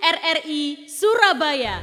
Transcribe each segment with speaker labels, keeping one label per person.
Speaker 1: RI Surabaya.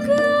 Speaker 2: Tengah segar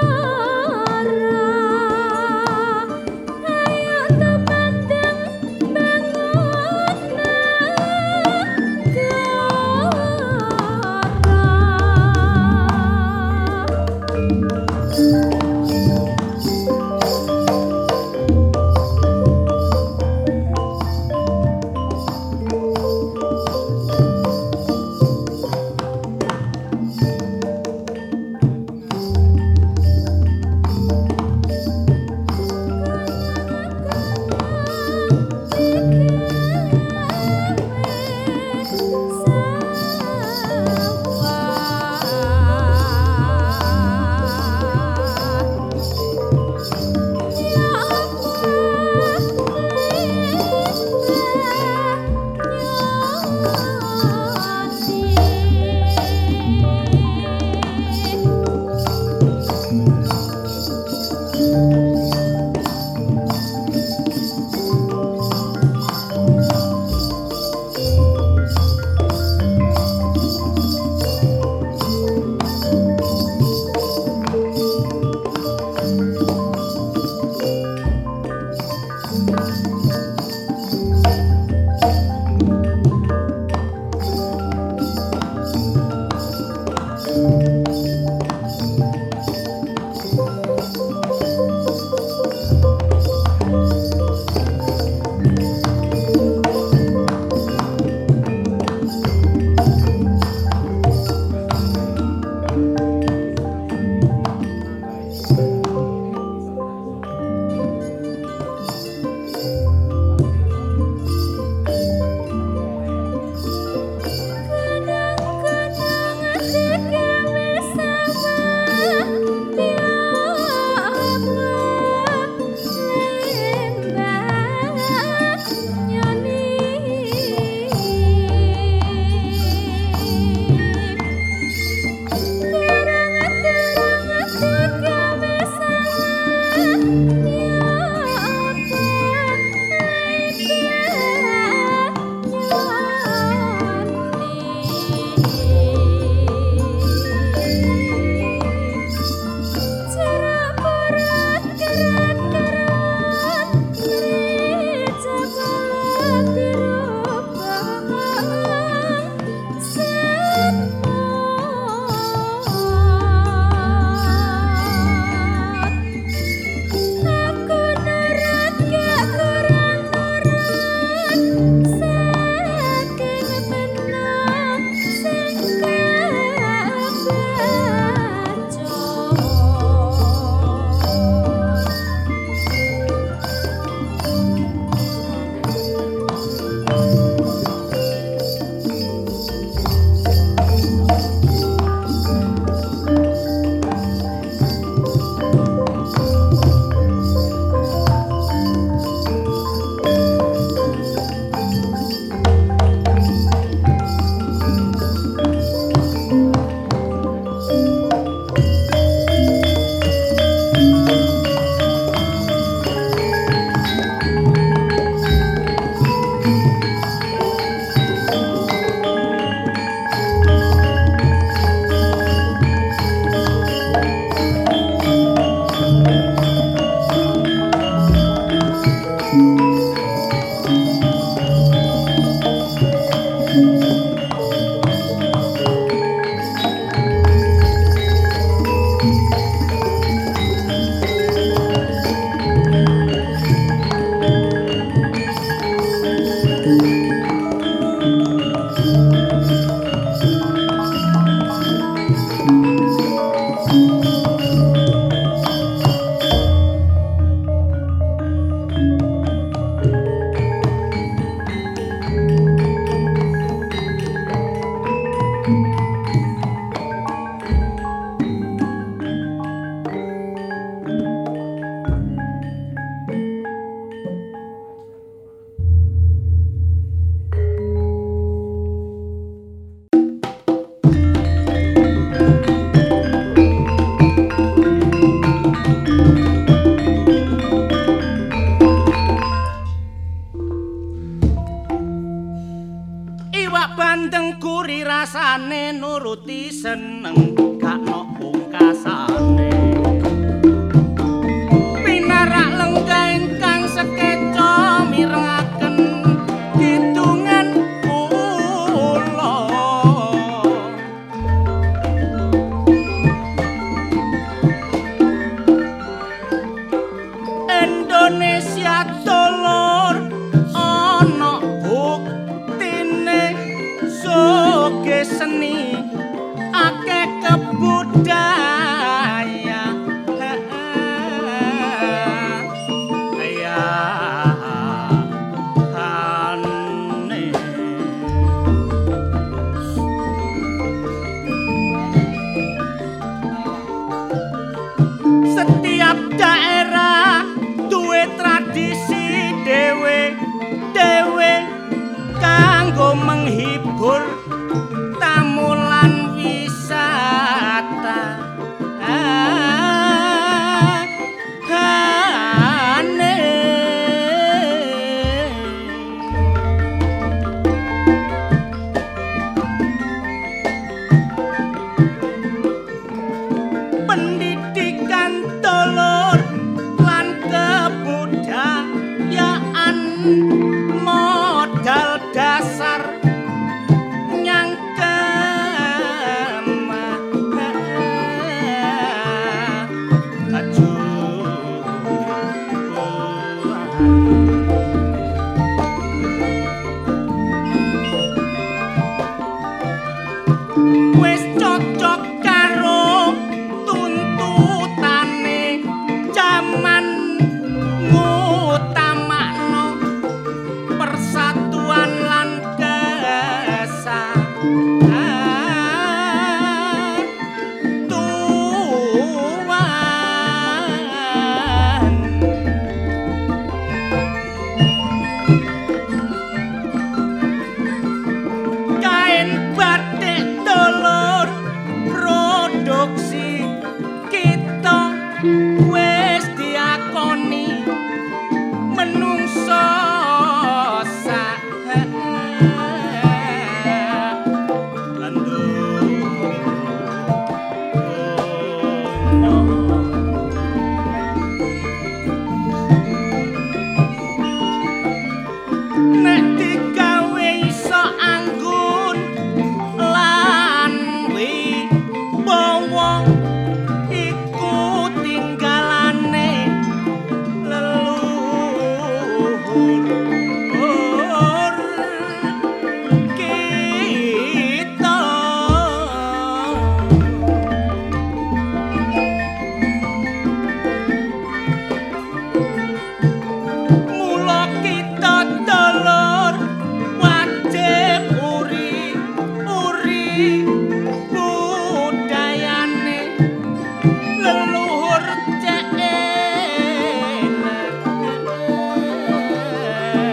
Speaker 2: leluhur jenek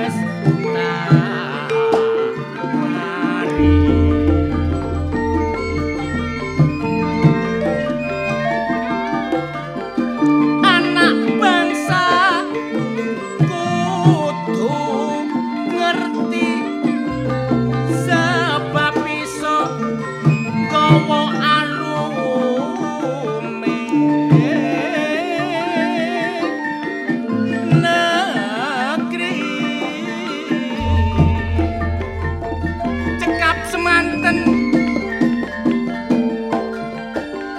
Speaker 2: es tawari. anak bangsa kudu ngerti sebab iso gawa alume negeri cekap semanten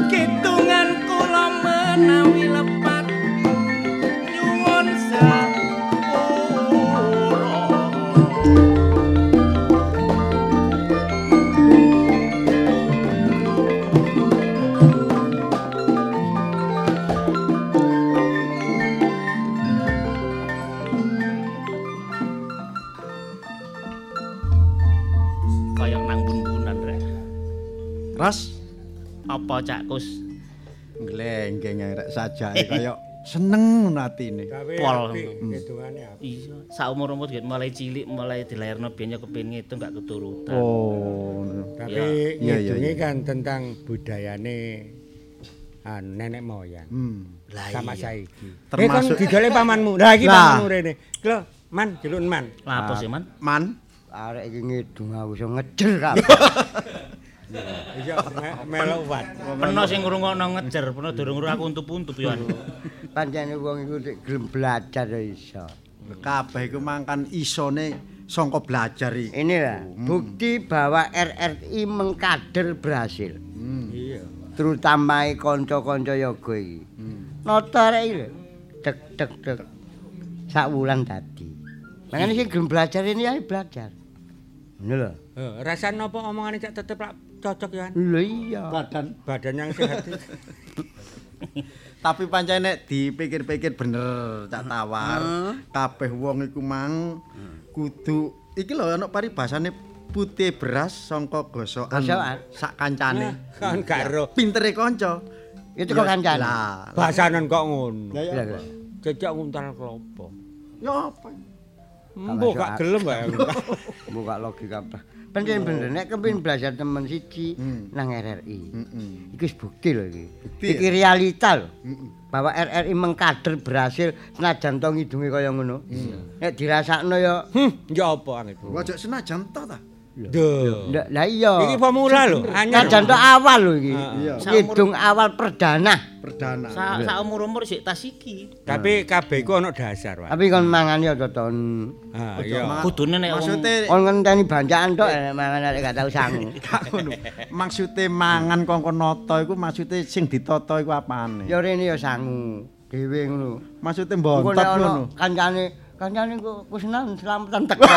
Speaker 2: Kitungan kula menawi lepat nyuwun
Speaker 3: Oh,
Speaker 2: sepura Kayak nang bun-bunan rek.
Speaker 4: Ras
Speaker 2: Apa cakkus
Speaker 4: nglenggeng arek sajake kaya seneng atine.
Speaker 2: pol. Hmm.
Speaker 5: Hmm.
Speaker 6: Hmm.
Speaker 5: Hitungannya apa?
Speaker 2: Iya, saumur-umur gitu, mulai cilik mulai dilairno biyen ya kepengin ngitung gak keturutan.
Speaker 4: Oh.
Speaker 5: Tapi
Speaker 4: Iya, iya,
Speaker 5: ngitungnya
Speaker 4: iya.
Speaker 5: kan tentang budayane anu, nenek moyang
Speaker 4: Hmm.
Speaker 2: Lah
Speaker 5: sama
Speaker 2: iya.
Speaker 5: saiki.
Speaker 4: Termasuk-
Speaker 5: Termasuk eh, kan didole pamanmu. Lah iki
Speaker 4: Lah.
Speaker 5: pamanmu rene. Klo, man, jeluk man.
Speaker 2: Lapo sih, Man?
Speaker 4: Man.
Speaker 6: Arek iki ngidung aku iso ngejer kabeh.
Speaker 5: Iya, me- melok wat.
Speaker 2: Peno sing ngrungokno ngejer, peno durung ngrungok aku untup-untup yo. anu.
Speaker 4: Hmm.
Speaker 6: Pancene wong iku nek gelem belajar ya iso. Hmm.
Speaker 4: Kabeh iku mangkan isone sangka belajar iki. Hmm.
Speaker 6: Ini lah bukti bahwa RRI mengkader berhasil.
Speaker 4: Hmm.
Speaker 5: Iya.
Speaker 6: Terutama kanca-kanca yoga iki.
Speaker 4: Hmm.
Speaker 6: Nata arek iki lho. Dek dek dek. Sak wulan tadi. Makane sing gelem belajar ini ya belajar. Ngono lho.
Speaker 5: Eh, Rasan nopo omongane cak tetep lak cocok ya.
Speaker 6: Lho iya.
Speaker 4: Badan.
Speaker 5: Badan yang sehat. itu.
Speaker 4: Tapi pancen nek dipikir-pikir bener tak
Speaker 6: Hmm.
Speaker 4: tawar. Kabeh wong iku mang kudu iki lho ana paribasane putih beras sangka gosokan
Speaker 6: Gosokan.
Speaker 4: sak kancane.
Speaker 5: Kan gak ero.
Speaker 4: Pintere kanca.
Speaker 6: Itu kok
Speaker 4: Ya,
Speaker 6: kancane.
Speaker 4: Lah.
Speaker 5: Bahasanan kok ngono.
Speaker 4: Lah Hmm. ya
Speaker 6: Lha,
Speaker 4: apa?
Speaker 6: lha.
Speaker 5: Cecok nguntal klopo.
Speaker 4: Ya apa?
Speaker 5: Mbok gak gelem wae. Oh.
Speaker 6: Buka logika apa? Pancen bener nek kepengin belajar temen siji
Speaker 5: Hmm.
Speaker 6: nang RRI.
Speaker 4: Heeh.
Speaker 6: Iki wis bukti lho iki.
Speaker 4: Bukti
Speaker 6: iki realita lho. Bahwa RRI mengkader berhasil senajan to ngidunge kaya ngono. Nek dirasakno ya
Speaker 5: Hm, ya apa anget.
Speaker 4: Wajak senajan to ta?
Speaker 5: Duh.
Speaker 6: ndak- lah iya.
Speaker 5: Iki pemula lho, anyar.
Speaker 6: Senajan to awal lho iki.
Speaker 4: Iya.
Speaker 6: Ngidung awal perdana.
Speaker 4: Perdana.
Speaker 2: Sa saumur-umur sik tas iki.
Speaker 5: Tapi kabeh iku ana dasar, Pak.
Speaker 6: Tapi kon mangan ya toton.
Speaker 5: Ha, iya.
Speaker 4: Ma-
Speaker 2: Kudune nek wong-
Speaker 4: maksude
Speaker 6: Kon ngenteni banjakan tok eh, mangan arek gak tau sangu.
Speaker 4: gak ngono. Maksude mangan kongkon nata iku maksude sing ditata iku apane?
Speaker 6: Ya rene ya sangu dhewe ngono.
Speaker 4: maksude
Speaker 6: Engko
Speaker 4: mbontot
Speaker 6: nek ana
Speaker 4: ngono.
Speaker 6: kancane kancane ku kusnan selamatan teko.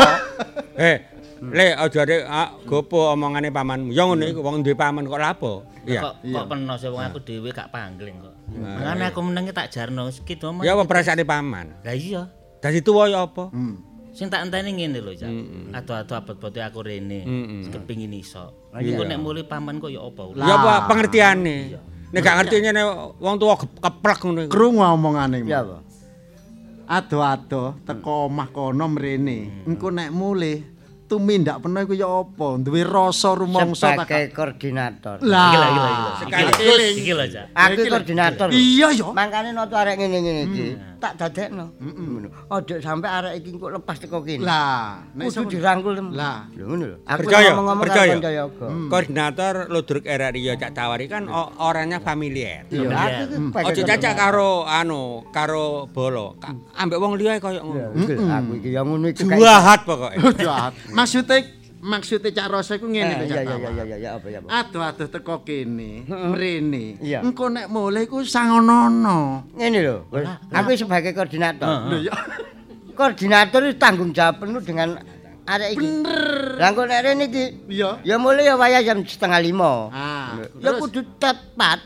Speaker 5: Eh,
Speaker 4: Hmm.
Speaker 5: le aja rek ah, gopo omongane pamanmu. Ya ngono iku wong duwe paman kok lapo. Iya.
Speaker 2: Kok kok peno sih wong aku dhewe gak pangling kok. Mangane aku menengi tak jarno iki to, Man.
Speaker 5: Ya apa perasaane paman?
Speaker 2: Lah iya.
Speaker 5: Dadi tuwa ya apa?
Speaker 4: Hmm.
Speaker 2: Sing tak enteni ngene lho, Cak. Ado-ado abot-abote aku rene, kepengin iso. Iku nek muli paman kok ya apa?
Speaker 5: Ya apa pengertiane? Nek gak ngerti ngene wong tuwa ke- keplek ngono iku.
Speaker 4: Krungu omongane.
Speaker 6: Ya apa?
Speaker 4: Ado-ado teko omah kono mrene.
Speaker 5: Hmm.
Speaker 4: Engko nek mulih tumindak peno iku ya apa? Duwe rasa rumangsa ta.
Speaker 6: sebagai koordinator.
Speaker 4: Lah.
Speaker 2: Gila gila gila.
Speaker 5: Sekali
Speaker 2: Iki lho, Iki lho, Cak.
Speaker 6: Aku koordinator.
Speaker 4: Iya Hmm. ya.
Speaker 6: Mangkane noto arek ngene-ngene iki, tak dadekno. Ngono. Ojo sampe arek iki kok lepas teko kene.
Speaker 4: Lah, nek iso
Speaker 6: kudu dirangkul. Tem.
Speaker 4: Lah.
Speaker 6: Lho ngono lho. Hmm. Aku
Speaker 5: Percaya,
Speaker 6: ngomong-ngomong karo
Speaker 5: percaya.
Speaker 6: Kancayaga.
Speaker 5: Koordinator Ludruk RRI ya Cak Tawari kan o- orangnya familiar.
Speaker 6: Lho aku
Speaker 5: Ojo
Speaker 6: iki
Speaker 5: cacak karo anu, karo bolo. Ka- Ambek wong liya koyo
Speaker 6: Ya,
Speaker 5: ngono.
Speaker 6: betul. Aku
Speaker 4: Hmm.
Speaker 6: iki ya ngono iki kayak-
Speaker 5: Duahat pokoke.
Speaker 4: jahat. Maksude maksude cak rasa iku
Speaker 6: Eh,
Speaker 4: ngene to cak.
Speaker 6: Iya iya iya
Speaker 4: Tawar.
Speaker 6: iya iya apa ya. apa.
Speaker 4: Aduh-aduh teko kene, mrene.
Speaker 6: Iya.
Speaker 4: Engko nek mulih iku sangonono.
Speaker 6: Ngene lho. Aku sebagai koordinator.
Speaker 4: Lho ya.
Speaker 6: Koordinator itu tanggung jawab penuh dengan arek iki. Bener. Lah kok nek rene iki
Speaker 4: Iya.
Speaker 6: ya mulai ya waya jam setengah lima.
Speaker 4: Ah,
Speaker 6: Ya
Speaker 4: terus?
Speaker 6: kudu tepat.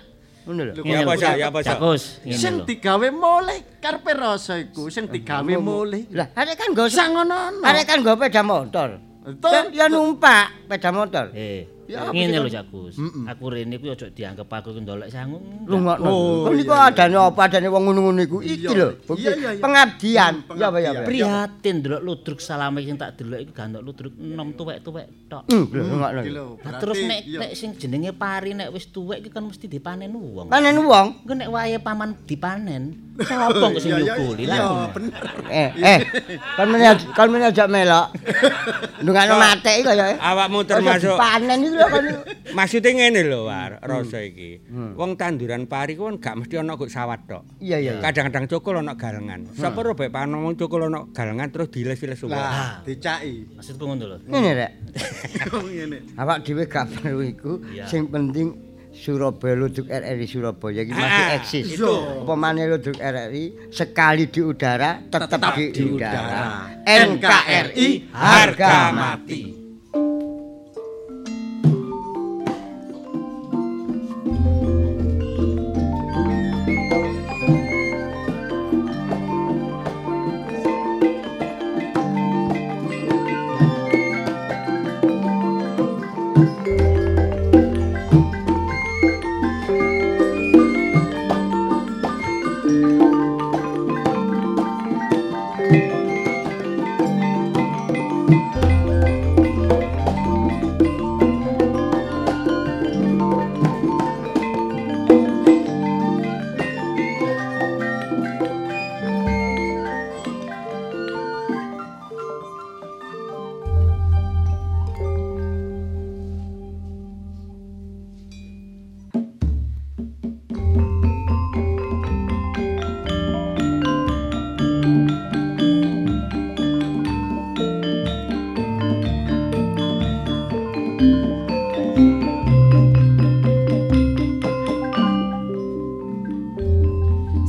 Speaker 6: Ngono lho.
Speaker 2: Ngene
Speaker 5: apa,
Speaker 2: lho,
Speaker 5: Cak? Ya apa, Cak?
Speaker 2: Cakus, ngene
Speaker 4: sing
Speaker 2: lho.
Speaker 4: digawe mulih karepe rasa iku sing digawe mulih.
Speaker 6: Lah, arek kan nggo
Speaker 4: Sangonono.
Speaker 6: arek kan nggo sepeda motor.
Speaker 4: Betul.
Speaker 6: Ya, ya numpak sepeda motor.
Speaker 2: Eh,
Speaker 6: Ya, apa
Speaker 2: Ngene
Speaker 6: sih,
Speaker 2: lho Cak Gus. Aku rene kuwi ojo dianggep aku iku ndolek sangu.
Speaker 6: Lungokno.
Speaker 4: Oh,
Speaker 6: Oh, niku adane apa adane wong ngono-ngono iku. Iki lho,
Speaker 5: Oh,
Speaker 6: bukti
Speaker 4: Iya, iya, iya.
Speaker 6: pengabdian.
Speaker 4: Hmm,
Speaker 6: Ya apa ya.
Speaker 4: pengabdian.
Speaker 6: apa ya?
Speaker 2: Prihatin delok ludruk salame sing tak delok iku gandok ludruk enom tuwek-tuwek tok.
Speaker 6: Hmm, lho, lungokno.
Speaker 4: Iki lho,
Speaker 2: Nah, terus
Speaker 4: berarti,
Speaker 2: nek
Speaker 4: iya.
Speaker 2: nek sing jenenge pari nek wis tuwek iki kan mesti dipanen wong.
Speaker 6: Panen wong.
Speaker 2: Engko nek wayahe paman dipanen, sapa kok sing
Speaker 4: Iya, iya,
Speaker 2: nyukuli
Speaker 4: Iya,
Speaker 2: lah.
Speaker 4: bener.
Speaker 6: Eh, eh. Kon meneh kon meneh ajak melok. Ndungakno mate iki kaya.
Speaker 5: Awakmu termasuk-
Speaker 6: panen iki lho kon. iku.
Speaker 5: Maksudnya ngene lho, War,
Speaker 6: Hmm.
Speaker 5: rasa iki. Wong tanduran pari ku kan gak mesti ana kok sawat tok.
Speaker 6: Iya, iya, Hmm. iya.
Speaker 5: Kadang-kadang cokol ana galengan. Sapa ro bae panom wong cokol ana galengan terus diles-iles semua.
Speaker 4: Lah, dicaki.
Speaker 2: Maksudku ngono lho.
Speaker 6: Ngene rek.
Speaker 4: Wong ngene.
Speaker 6: Awak dhewe gak perlu iku. Sing penting Surabaya Luduk RRI Surabaya iki masih
Speaker 5: Ah,
Speaker 6: eksis.
Speaker 4: iya.
Speaker 6: Apa maneh Luduk RRI sekali di udara tetap,
Speaker 4: Tetap
Speaker 6: di,
Speaker 4: di
Speaker 6: udara.
Speaker 4: udara.
Speaker 6: NKRI harga mati.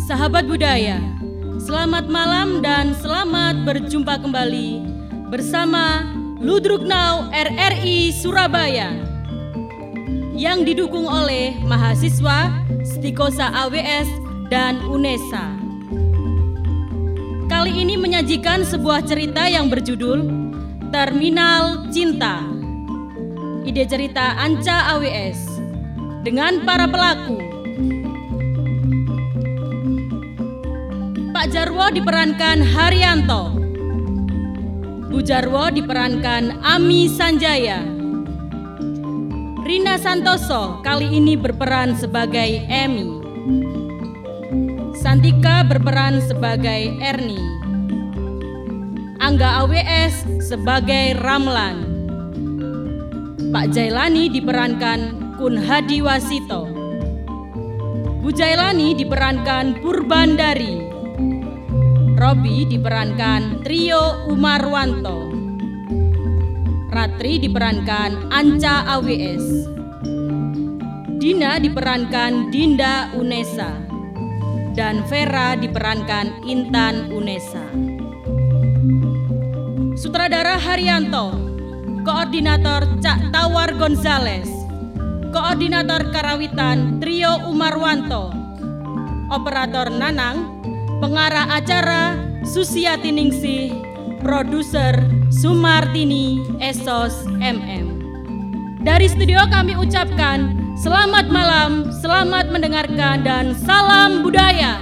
Speaker 1: Sahabat budaya, selamat malam dan selamat berjumpa kembali bersama Ludruk Now RRI Surabaya yang didukung oleh mahasiswa Stikosa AWS dan UNESA. Kali ini menyajikan sebuah cerita yang berjudul Terminal Cinta. Ide cerita Anca AWS dengan para pelaku Pak Jarwo diperankan Haryanto. Bu Jarwo diperankan Ami Sanjaya. Rina Santoso kali ini berperan sebagai Emi. Santika berperan sebagai Erni. Angga AWS sebagai Ramlan. Pak Jailani diperankan Kun Hadi Wasito. Bu Jailani diperankan Purbandari. Robi diperankan Trio Umarwanto. Ratri diperankan Anca AWS. Dina diperankan Dinda Unesa. Dan Vera diperankan Intan Unesa. Sutradara Haryanto, Koordinator Cak Tawar Gonzales, Koordinator Karawitan Trio Umarwanto, Operator Nanang, Pengarah Acara Susiati Ningsih, Produser Sumartini Esos MM. Dari studio kami ucapkan selamat malam, selamat mendengarkan dan salam budaya.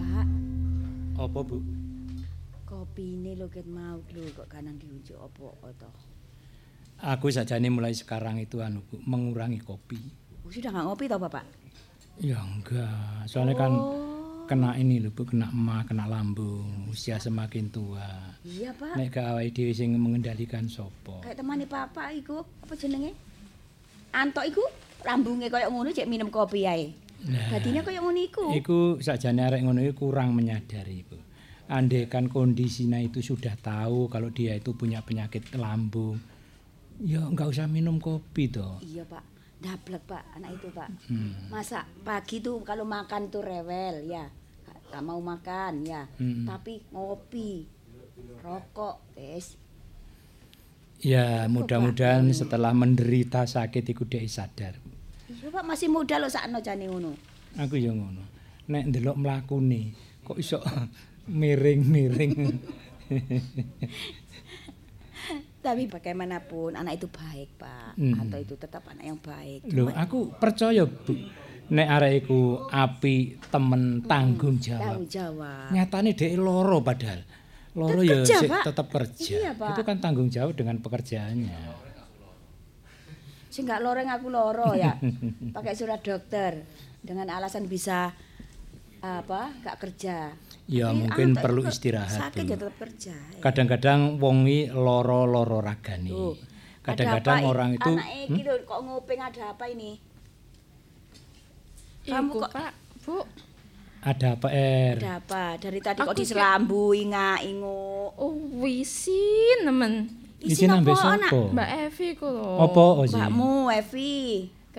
Speaker 7: Pak,
Speaker 5: Apa, Bu?
Speaker 7: kopine lho ket mau lho kok kanan diunjuk apa to.
Speaker 8: Aku sajane mulai sekarang itu anu Bu, mengurangi kopi.
Speaker 7: Oh, Sudah nggak ngopi to, Bapak?
Speaker 8: Ya enggak, soalnya kan
Speaker 7: Oh.
Speaker 8: kena ini lho Bu, kena emah, kena lambung, usia semakin tua.
Speaker 7: Iya, Pak.
Speaker 8: Nek gak awake dhewe sing mengendalikan sapa?
Speaker 7: Kayak temane Bapak iku, apa jenenge? Antok iku? rambunge koyo ngono cek minum kopi ae. Dadine koyo ngono iku.
Speaker 8: Iku sakjane arek ngono iku kurang menyadari, Bu. Andaikan kondisinya itu sudah tahu kalau dia itu punya penyakit lambung, ya nggak usah minum kopi toh. Hmm.
Speaker 7: Iya, Pak. Dablek, Pak, anak itu, Pak. Masa pagi tuh kalau makan tuh rewel ya. Gak mau makan ya,
Speaker 8: Hmm.
Speaker 7: tapi ngopi, rokok, wis.
Speaker 8: Ya mudah-mudahan setelah menderita sakit iku dia sadar.
Speaker 7: Iya, Pak, masih muda loh sakno jane ngono.
Speaker 8: Aku ya ngono. Nek ndelok mlakune kok iso miring-miring.
Speaker 7: Tapi bagaimanapun anak itu baik, Pak.
Speaker 8: Hmm.
Speaker 7: Atau itu tetap anak yang baik.
Speaker 8: Lho, aku percaya, Bu. Nek arek iku api temen tanggung jawab.
Speaker 7: Tanggung jawab.
Speaker 8: Nyatane dhek loro padahal. Loro ya
Speaker 7: kerja,
Speaker 8: sik
Speaker 7: Pak.
Speaker 8: tetep kerja.
Speaker 7: Iya, Pak.
Speaker 8: Itu kan tanggung jawab dengan pekerjaannya.
Speaker 7: Sing gak loreng aku loro ya. Pakai surat dokter dengan alasan bisa apa? Gak kerja.
Speaker 8: Ya,
Speaker 7: Tapi
Speaker 8: mungkin
Speaker 7: antuk
Speaker 8: perlu
Speaker 7: itu kok
Speaker 8: istirahat
Speaker 7: Sakit
Speaker 8: dulu.
Speaker 7: ya tetap kerja. ya.
Speaker 8: Kadang-kadang wong iki loro-loro ragane.
Speaker 7: Tuh,
Speaker 8: Kadang-kadang
Speaker 7: ada apa
Speaker 8: orang
Speaker 7: ini?
Speaker 8: itu Hmm?
Speaker 7: anak iki lho kok nguping ada apa ini? Kamu kok
Speaker 3: Pak, Iya, Bu.
Speaker 8: ada apa er?
Speaker 7: ada apa? Dari tadi
Speaker 3: Aku
Speaker 7: kok
Speaker 3: kayak-
Speaker 7: diserambui ngai-ngu.
Speaker 3: Oh, wisin nemen.
Speaker 8: Izin ambek
Speaker 7: apa, Nak?
Speaker 8: sapa?
Speaker 3: Mbak Evi ku lho.
Speaker 8: Apa Oh, iya. sih?
Speaker 7: Oh, Mbakmu Evi.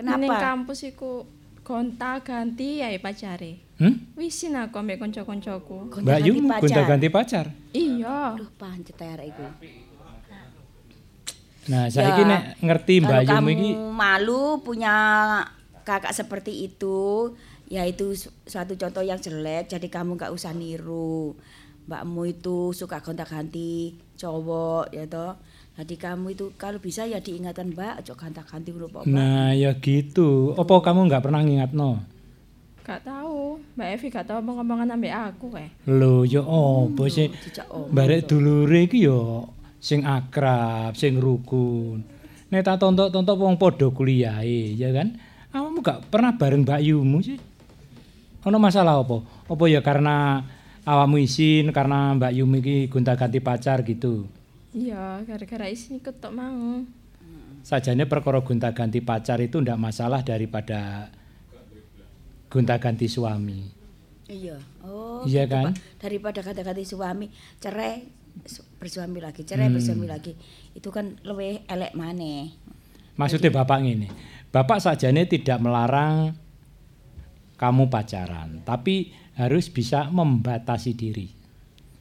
Speaker 3: Ning
Speaker 7: Kenapa?
Speaker 3: kampus iku gonta-ganti ya pacare.
Speaker 8: Hmm?
Speaker 3: Wisin aku ambek kanca-kancaku.
Speaker 8: Mbak Yu
Speaker 7: Gonta-ganti pacar.
Speaker 8: gonta-ganti pacar.
Speaker 3: Iya.
Speaker 7: Aduh, pancet ya arek iku.
Speaker 8: Nah, saiki
Speaker 7: Ya,
Speaker 8: nek ngerti Mbak
Speaker 7: Kalau
Speaker 8: Yu
Speaker 7: kamu
Speaker 8: iki
Speaker 7: malu punya kakak seperti itu, yaitu suatu contoh yang jelek, jadi kamu nggak usah niru. Mbakmu itu suka gonta-ganti cowok ya toh. Jadi kamu itu kalau bisa ya diingatan Mbak, ojo gonta-ganti ngono Pak.
Speaker 8: Nah, ya gitu. Apa kamu nggak pernah ngingatno?
Speaker 3: Gak tahu. Mbak Evi gak tahu omongan ambek aku kae.
Speaker 8: Lho, ya apa sih?
Speaker 7: Hmm, dijak omong,
Speaker 8: Barek dulure iki ya sing akrab, sing rukun. Nek tak tontok-tontok wong padha kuliahe, ya kan? Awakmu gak pernah bareng Mbak Yumu sih. Ono masalah apa? Apa ya karena awakmu isin karena Mbak Yumi iki gonta-ganti pacar gitu.
Speaker 3: Iya, gara-gara isin ikut tok mau.
Speaker 8: Sajane perkara gonta-ganti pacar itu ndak masalah daripada gonta-ganti suami.
Speaker 7: Iya. Oh.
Speaker 8: Iya kan?
Speaker 7: Pak. Daripada kata-kata suami cerai su- bersuami lagi, cerai
Speaker 8: Hmm.
Speaker 7: bersuami lagi. Itu kan lebih elek maneh.
Speaker 8: Maksudnya bapak ini, bapak sajane tidak melarang kamu pacaran, tapi harus bisa membatasi diri.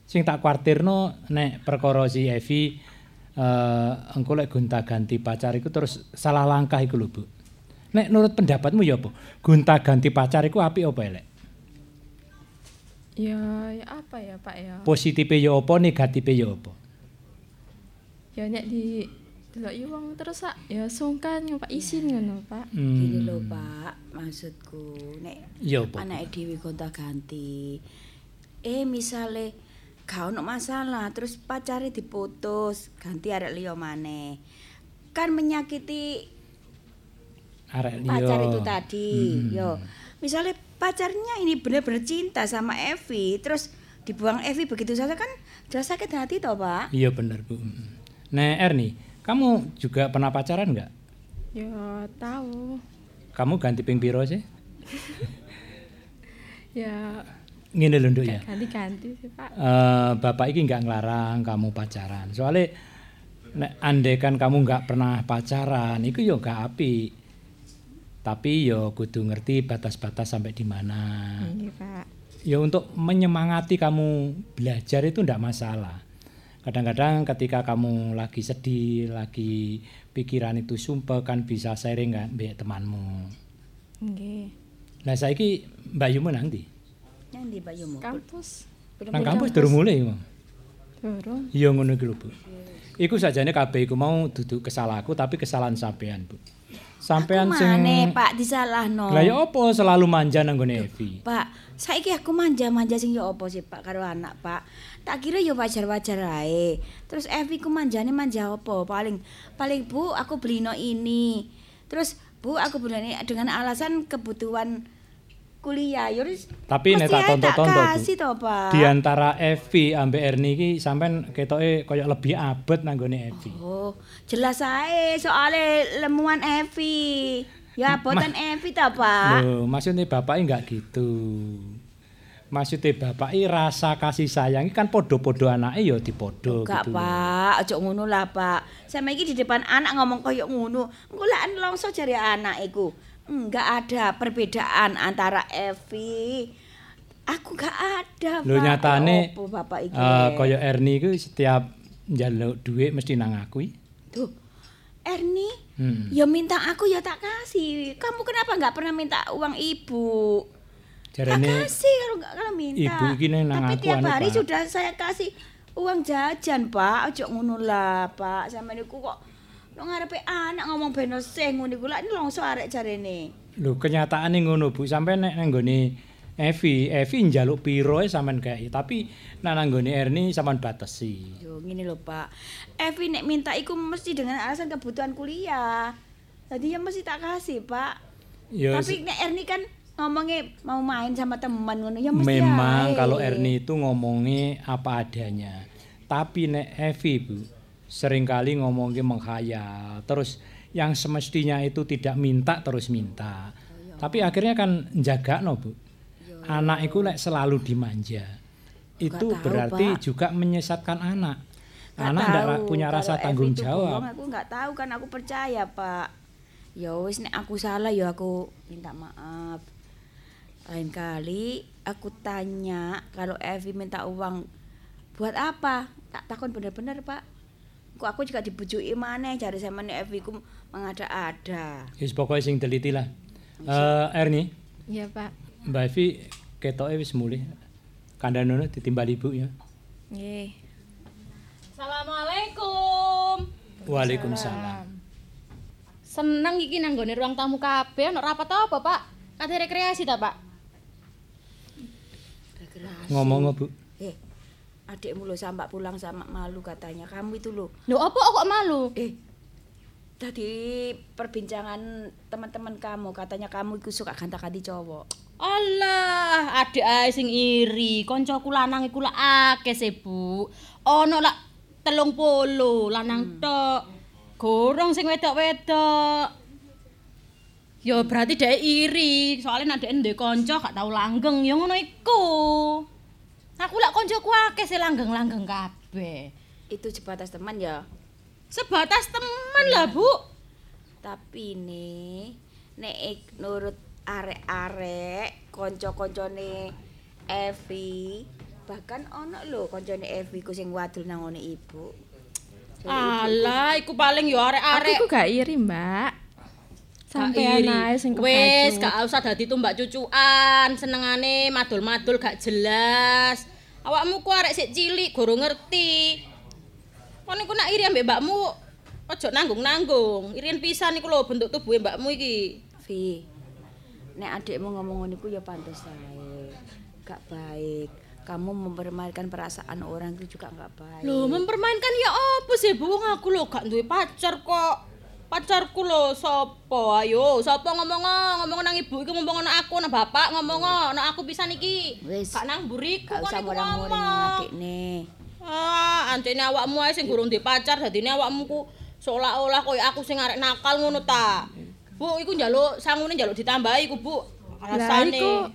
Speaker 8: Sing tak kuartirno nek perkara si Evi eh engko lek gonta-ganti pacar iku terus salah langkah iku lho, Bu. Nek nurut pendapatmu ya apa? Gonta-ganti pacar iku apik apa elek?
Speaker 3: Ya, ya apa ya, Pak ya?
Speaker 8: Positife ya apa, negatife ya apa?
Speaker 3: Ya nek di delok yo wong terus sak ya sungkan Pak isin ngono, Pak.
Speaker 8: Hmm.
Speaker 7: Gini Ya. lho Pak, maksudku nek
Speaker 8: Ya apa?
Speaker 7: anake dhewe gonta-ganti. Eh misale gak ono masalah terus pacare diputus, ganti arek liya maneh. Kan menyakiti
Speaker 8: Arek liya. Hmm.
Speaker 7: pacar itu tadi, ya. yo. Misalnya pacarnya ini benar-benar cinta sama Evi, terus dibuang Evi begitu saja kan jelas sakit hati toh, Pak?
Speaker 8: Iya bener, Bu. Nek Erni, kamu juga pernah pacaran nggak?
Speaker 3: Ya tahu.
Speaker 8: Kamu ganti ping piro sih?
Speaker 3: Ya
Speaker 8: Ngene lho Nduk ya.
Speaker 3: ganti-ganti sih, Pak.
Speaker 8: Eh, bapak iki nggak ngelarang kamu pacaran. Soalnya nek andekan kamu nggak pernah pacaran, itu yo nggak apik. Tapi yo kudu ngerti batas-batas sampai di mana.
Speaker 3: Ini, Pak.
Speaker 8: Ya untuk menyemangati kamu belajar itu ndak masalah. Kadang-kadang ketika kamu lagi sedih, lagi pikiran itu sumpah kan bisa sharing kan mbek temanmu.
Speaker 3: Nggih.
Speaker 8: Nah saiki Mbak Yumu nanti.
Speaker 7: Nanti Pak Yomo.
Speaker 3: Kampus
Speaker 8: Nang kampus durung mulai, Mam.
Speaker 3: turun.
Speaker 8: Iya ngono iki lho, Bu. Iku sajane kabeh iku mau duduk kesalahanku tapi kesalahan sampean, Bu. Sampean sing
Speaker 7: Mana Pak disalahno.
Speaker 8: Lah ya apa selalu manja nang gone Evi?
Speaker 7: Pak, saiki aku manja-manja sing ya apa sih Pak karo anak Pak. Tak kira ya wajar-wajar ae. Terus Evi ku manjane manja apa? Paling paling Bu, aku belino ini. Terus Bu, aku belino ini dengan alasan kebutuhan kuliah. Yuris,
Speaker 8: Tapi nek tak tonton-tonton, Bu.
Speaker 7: kasih toh, Pak.
Speaker 8: Di antara Evi ambek Erni iki sampean ketoke koyo lebih abet nang gone Evi.
Speaker 7: Oh, jelas ae soale lemuan Evi. Ya abotan Evi ta, Pak.
Speaker 8: Loh, maksudnya bapaknya enggak gitu. Maksudnya bapaknya rasa kasih sayang kan podo-podo anaknya ya dipodo
Speaker 7: Enggak,
Speaker 8: Oh, gitu. loh.
Speaker 7: Pak. Ojo ngono lah, Pak. Sama iki di depan anak ngomong koyo ngono. Engko lah langsung jare anak iku. Enggak ada perbedaan antara Evi. Aku enggak ada, Pak.
Speaker 8: Lho nyatane
Speaker 7: Opo Bapak iki.
Speaker 8: eh, kaya Erni iku setiap njaluk dhuwit mesti nang aku. iki.
Speaker 7: Tuh. Erni,
Speaker 8: Hmm.
Speaker 7: ya minta aku ya tak kasih. Kamu kenapa nggak pernah minta uang ibu? tak
Speaker 8: Jarane
Speaker 7: kasih kalau nggak kalau minta.
Speaker 8: ibu iki nih nang aku
Speaker 7: Tapi tiap
Speaker 8: anu,
Speaker 7: hari
Speaker 8: Pak.
Speaker 7: sudah saya kasih uang jajan pak. Ojo ngono lah pak. Sama niku kok lo ngarepe anak ngomong beno sing ngono iku. Lah ini langsung arek jarene.
Speaker 8: lho kenyataane ngono Bu, sampe nek nang nggone Evi, Evi njaluk piro ae sampean gawe, tapi nek nang nggone Erni sampean batesi.
Speaker 7: Yo ngene lho pak. Evi nek minta iku mesti dengan alasan kebutuhan kuliah. Tadi ya mesti tak kasih pak.
Speaker 8: Ya
Speaker 7: Tapi nek Erni kan ngomongnya mau main sama teman ngono ya mesti
Speaker 8: Memang
Speaker 7: ae.
Speaker 8: kalau Erni itu ngomongnya apa adanya. Tapi nek Evi Bu seringkali ngomongnya menghayal. Terus yang semestinya itu tidak minta terus minta.
Speaker 7: Oh, iya.
Speaker 8: Tapi akhirnya kan jaga no Bu. Anak itu nek selalu dimanja. Itu
Speaker 7: Nggak tahu,
Speaker 8: berarti
Speaker 7: Pak.
Speaker 8: juga menyesatkan anak.
Speaker 7: Nggak
Speaker 8: anak tidak
Speaker 7: tahu
Speaker 8: punya
Speaker 7: kalau
Speaker 8: rasa
Speaker 7: Evi
Speaker 8: tanggung
Speaker 7: itu bohong,
Speaker 8: jawab.
Speaker 7: aku nggak tahu kan aku percaya pak. Ya wis nek aku salah ya aku minta maaf. Lain kali aku tanya kalau Evi minta uang buat apa? Tak takon bener-bener pak. Kok aku juga dibujuki maneh cari sama nek Evi ku mengada-ada.
Speaker 8: Wis pokoknya sing teliti lah. Eh, Erni,
Speaker 3: Iya pak.
Speaker 8: Mbak Evi ketoknya wis mulih. Kandanono ditimbal ibu ya.
Speaker 3: Nggih.
Speaker 1: Assalamualaikum.
Speaker 8: Waalaikumsalam.
Speaker 1: Seneng iki nang nggone ruang tamu kabeh ana rapat apa, Pak? Kate rekreasi ta, Pak?
Speaker 8: Ngomong Bu.
Speaker 7: Eh, adikmu lo sampak pulang sama malu katanya kamu itu lo.
Speaker 1: Lho opo kok malu?
Speaker 7: Eh, tadi perbincangan teman-teman kamu katanya kamu itu suka ganti cowok.
Speaker 1: Alah, adek ae sing iri, kancaku lanang iku lak akeh se, Bu. Ana lak 30 lanang
Speaker 7: Hmm.
Speaker 1: tok. Gorong sing wedok-wedok. Ya berarti dhek iri, soalnya nek dhek duwe kanca gak tau langgeng, ya ngono iku. Aku lak kancaku akeh se langgeng-langgeng kabeh.
Speaker 7: Itu sebatas teman ya.
Speaker 1: Sebatas teman lah, Bu.
Speaker 7: Tapi nih, nek ik- nurut arek-arek konco-koncone Evi bahkan ono lho koncone Evi ku sing wadul nang ngone ibu.
Speaker 1: Alah, iku paling ya, yo
Speaker 3: Aku
Speaker 1: arek-arek.
Speaker 3: ku gak iri mbak. Sampai anak sing
Speaker 1: Wis,
Speaker 3: kebacut.
Speaker 1: gak usah dadi tumbak cucuan, senengane madul-madul gak jelas. Awakmu ku arek sik cilik, goro ngerti. Kon iku nak iri ambek mbakmu, ojo nanggung-nanggung. Irian pisan iku lho bentuk tubuhe mbakmu iki.
Speaker 7: Vi, nek adikmu ngomong ngono iku ya pantes ae. Gak baik. Kamu mempermainkan perasaan orang itu juga gak baik.
Speaker 1: Lho, mempermainkan ya apa sih, Bu? Wong aku lho gak duwe pacar kok. Pacarku lho sapa? Ayo, sapa ngomong ngomong nang ibu iku ngomong nang aku, nang bapak ngomong nang aku pisan iki.
Speaker 7: Wis.
Speaker 1: Gak nang buriku
Speaker 7: Gak
Speaker 1: kon
Speaker 7: usah
Speaker 1: iku
Speaker 7: murang-muring
Speaker 1: ngomong.
Speaker 7: adik nih.
Speaker 1: Ah, antene awakmu ae sing durung duwe pacar dadine awakmu ku seolah-olah koyo aku sing arek nakal ngono ta. Bu, iku njaluk sangune njaluk ditambahi ku, Bu.
Speaker 3: Lah iku
Speaker 1: Alasane.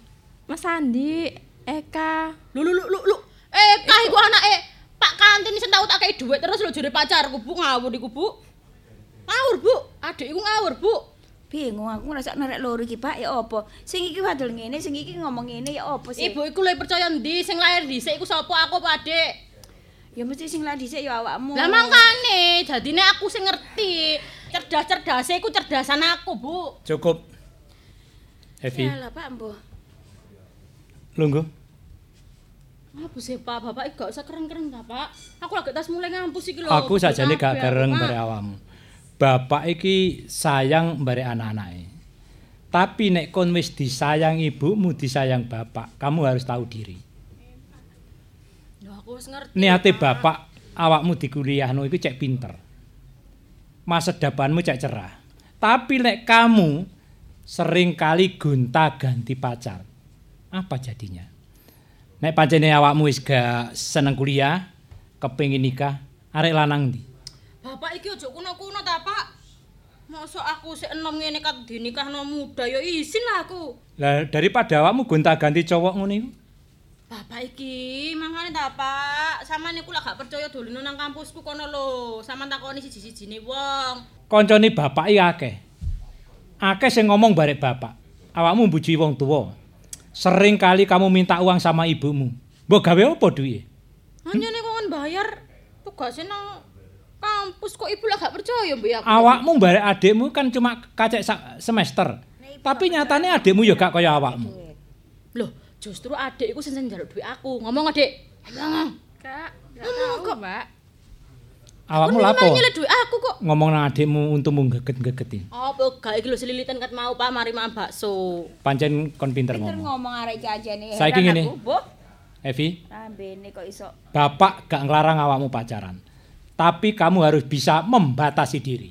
Speaker 3: Mas Andi, Eka,
Speaker 1: Lu lu lu lu. lu. Eh, kah iku anake Pak Kantin sing tau tak kei dhuwit terus lu jure pacarku, Bu. Ngawur iku, Bu. Ngawur, Bu. Adik iku ngawur, Bu.
Speaker 7: bingung aku ngerasa nerek loro iki Pak ya apa sing iki wadul ngene sing iki ngomong ngene ya apa sih
Speaker 1: Ibu iku luwih percaya ndi sing lahir dhisik iku sapa aku apa adik?
Speaker 7: ya mesti sing lah dhisik ya awakmu
Speaker 1: Lah mangkane, dadine aku sing ngerti. Cerdas-cerdase iku cerdasan aku, Bu.
Speaker 8: Cukup. Evi,
Speaker 7: ya lah Pak Mbah
Speaker 8: lungguh.
Speaker 1: Apa sih Pak, Ah, Bapak iki gak usah keren-keren ta, Pak? Aku lagi tas mulai ngampus iki lho.
Speaker 8: Aku sajane
Speaker 1: Kabeh
Speaker 8: gak
Speaker 1: aku,
Speaker 8: kereng
Speaker 1: Pak.
Speaker 8: mbare awakmu. Bapak iki sayang mbare anak-anake. Tapi nek kon wis disayang ibumu, disayang bapak, kamu harus tahu diri.
Speaker 1: Lho aku wis ngerti.
Speaker 8: Niate bapak awakmu dikuliahno iku cek pinter. Masa depanmu cek cerah. Tapi nek kamu seringkali gonta ganti pacar, apa jadinya? Nek pancene awakmu wis gak seneng kuliah, kepengin nikah, arek lanang ndi?
Speaker 1: Bapak iki ojo kuno-kuno ta, Pak? Mosok aku sik enom ngene kat dinikahno muda ya isin lah aku.
Speaker 8: Lah daripada awakmu gonta-ganti cowok ngono iku.
Speaker 1: Bapak iki mangane ta, Pak? Samane kula gak percaya dolino nang kampusku kono lho. Sampeyan takoni siji-sijine wong.
Speaker 8: Koncone bapak iki akeh. Akeh sing ngomong barek bapak. Awakmu mbujuki wong tuwa. Sering kali kamu minta uang sama ibumu. Mbok gawe apa duwe?
Speaker 1: Anjene kok kon bayar tugase nang kampus kok ibu lah gak percaya mbek aku.
Speaker 8: Awakmu barek adikmu kan cuma kacek sa- semester. Tapi nyatane adikmu ya gak kaya awakmu.
Speaker 1: Loh, justru adik iku sing sing njaluk duit aku. Ngomong, Adik. Ayo ngomong.
Speaker 3: Kak, gak tahu kok, Mbak.
Speaker 8: Awakmu lapo?
Speaker 1: Nyelek duit aku kok.
Speaker 8: Ngomong nang adikmu untungmu geget-gegeti.
Speaker 1: Apa gak iki lho selilitan kat mau Pak mari makan bakso.
Speaker 8: Pancen kon pinter
Speaker 7: Pinter
Speaker 8: ngomong.
Speaker 7: ngomong arek iki aja nih.
Speaker 8: Saiki
Speaker 7: Heran
Speaker 8: ngene.
Speaker 7: aku, Boh,
Speaker 8: Evi,
Speaker 7: rambene kok iso.
Speaker 8: bapak gak ngelarang awakmu pacaran. Tapi kamu harus bisa membatasi diri.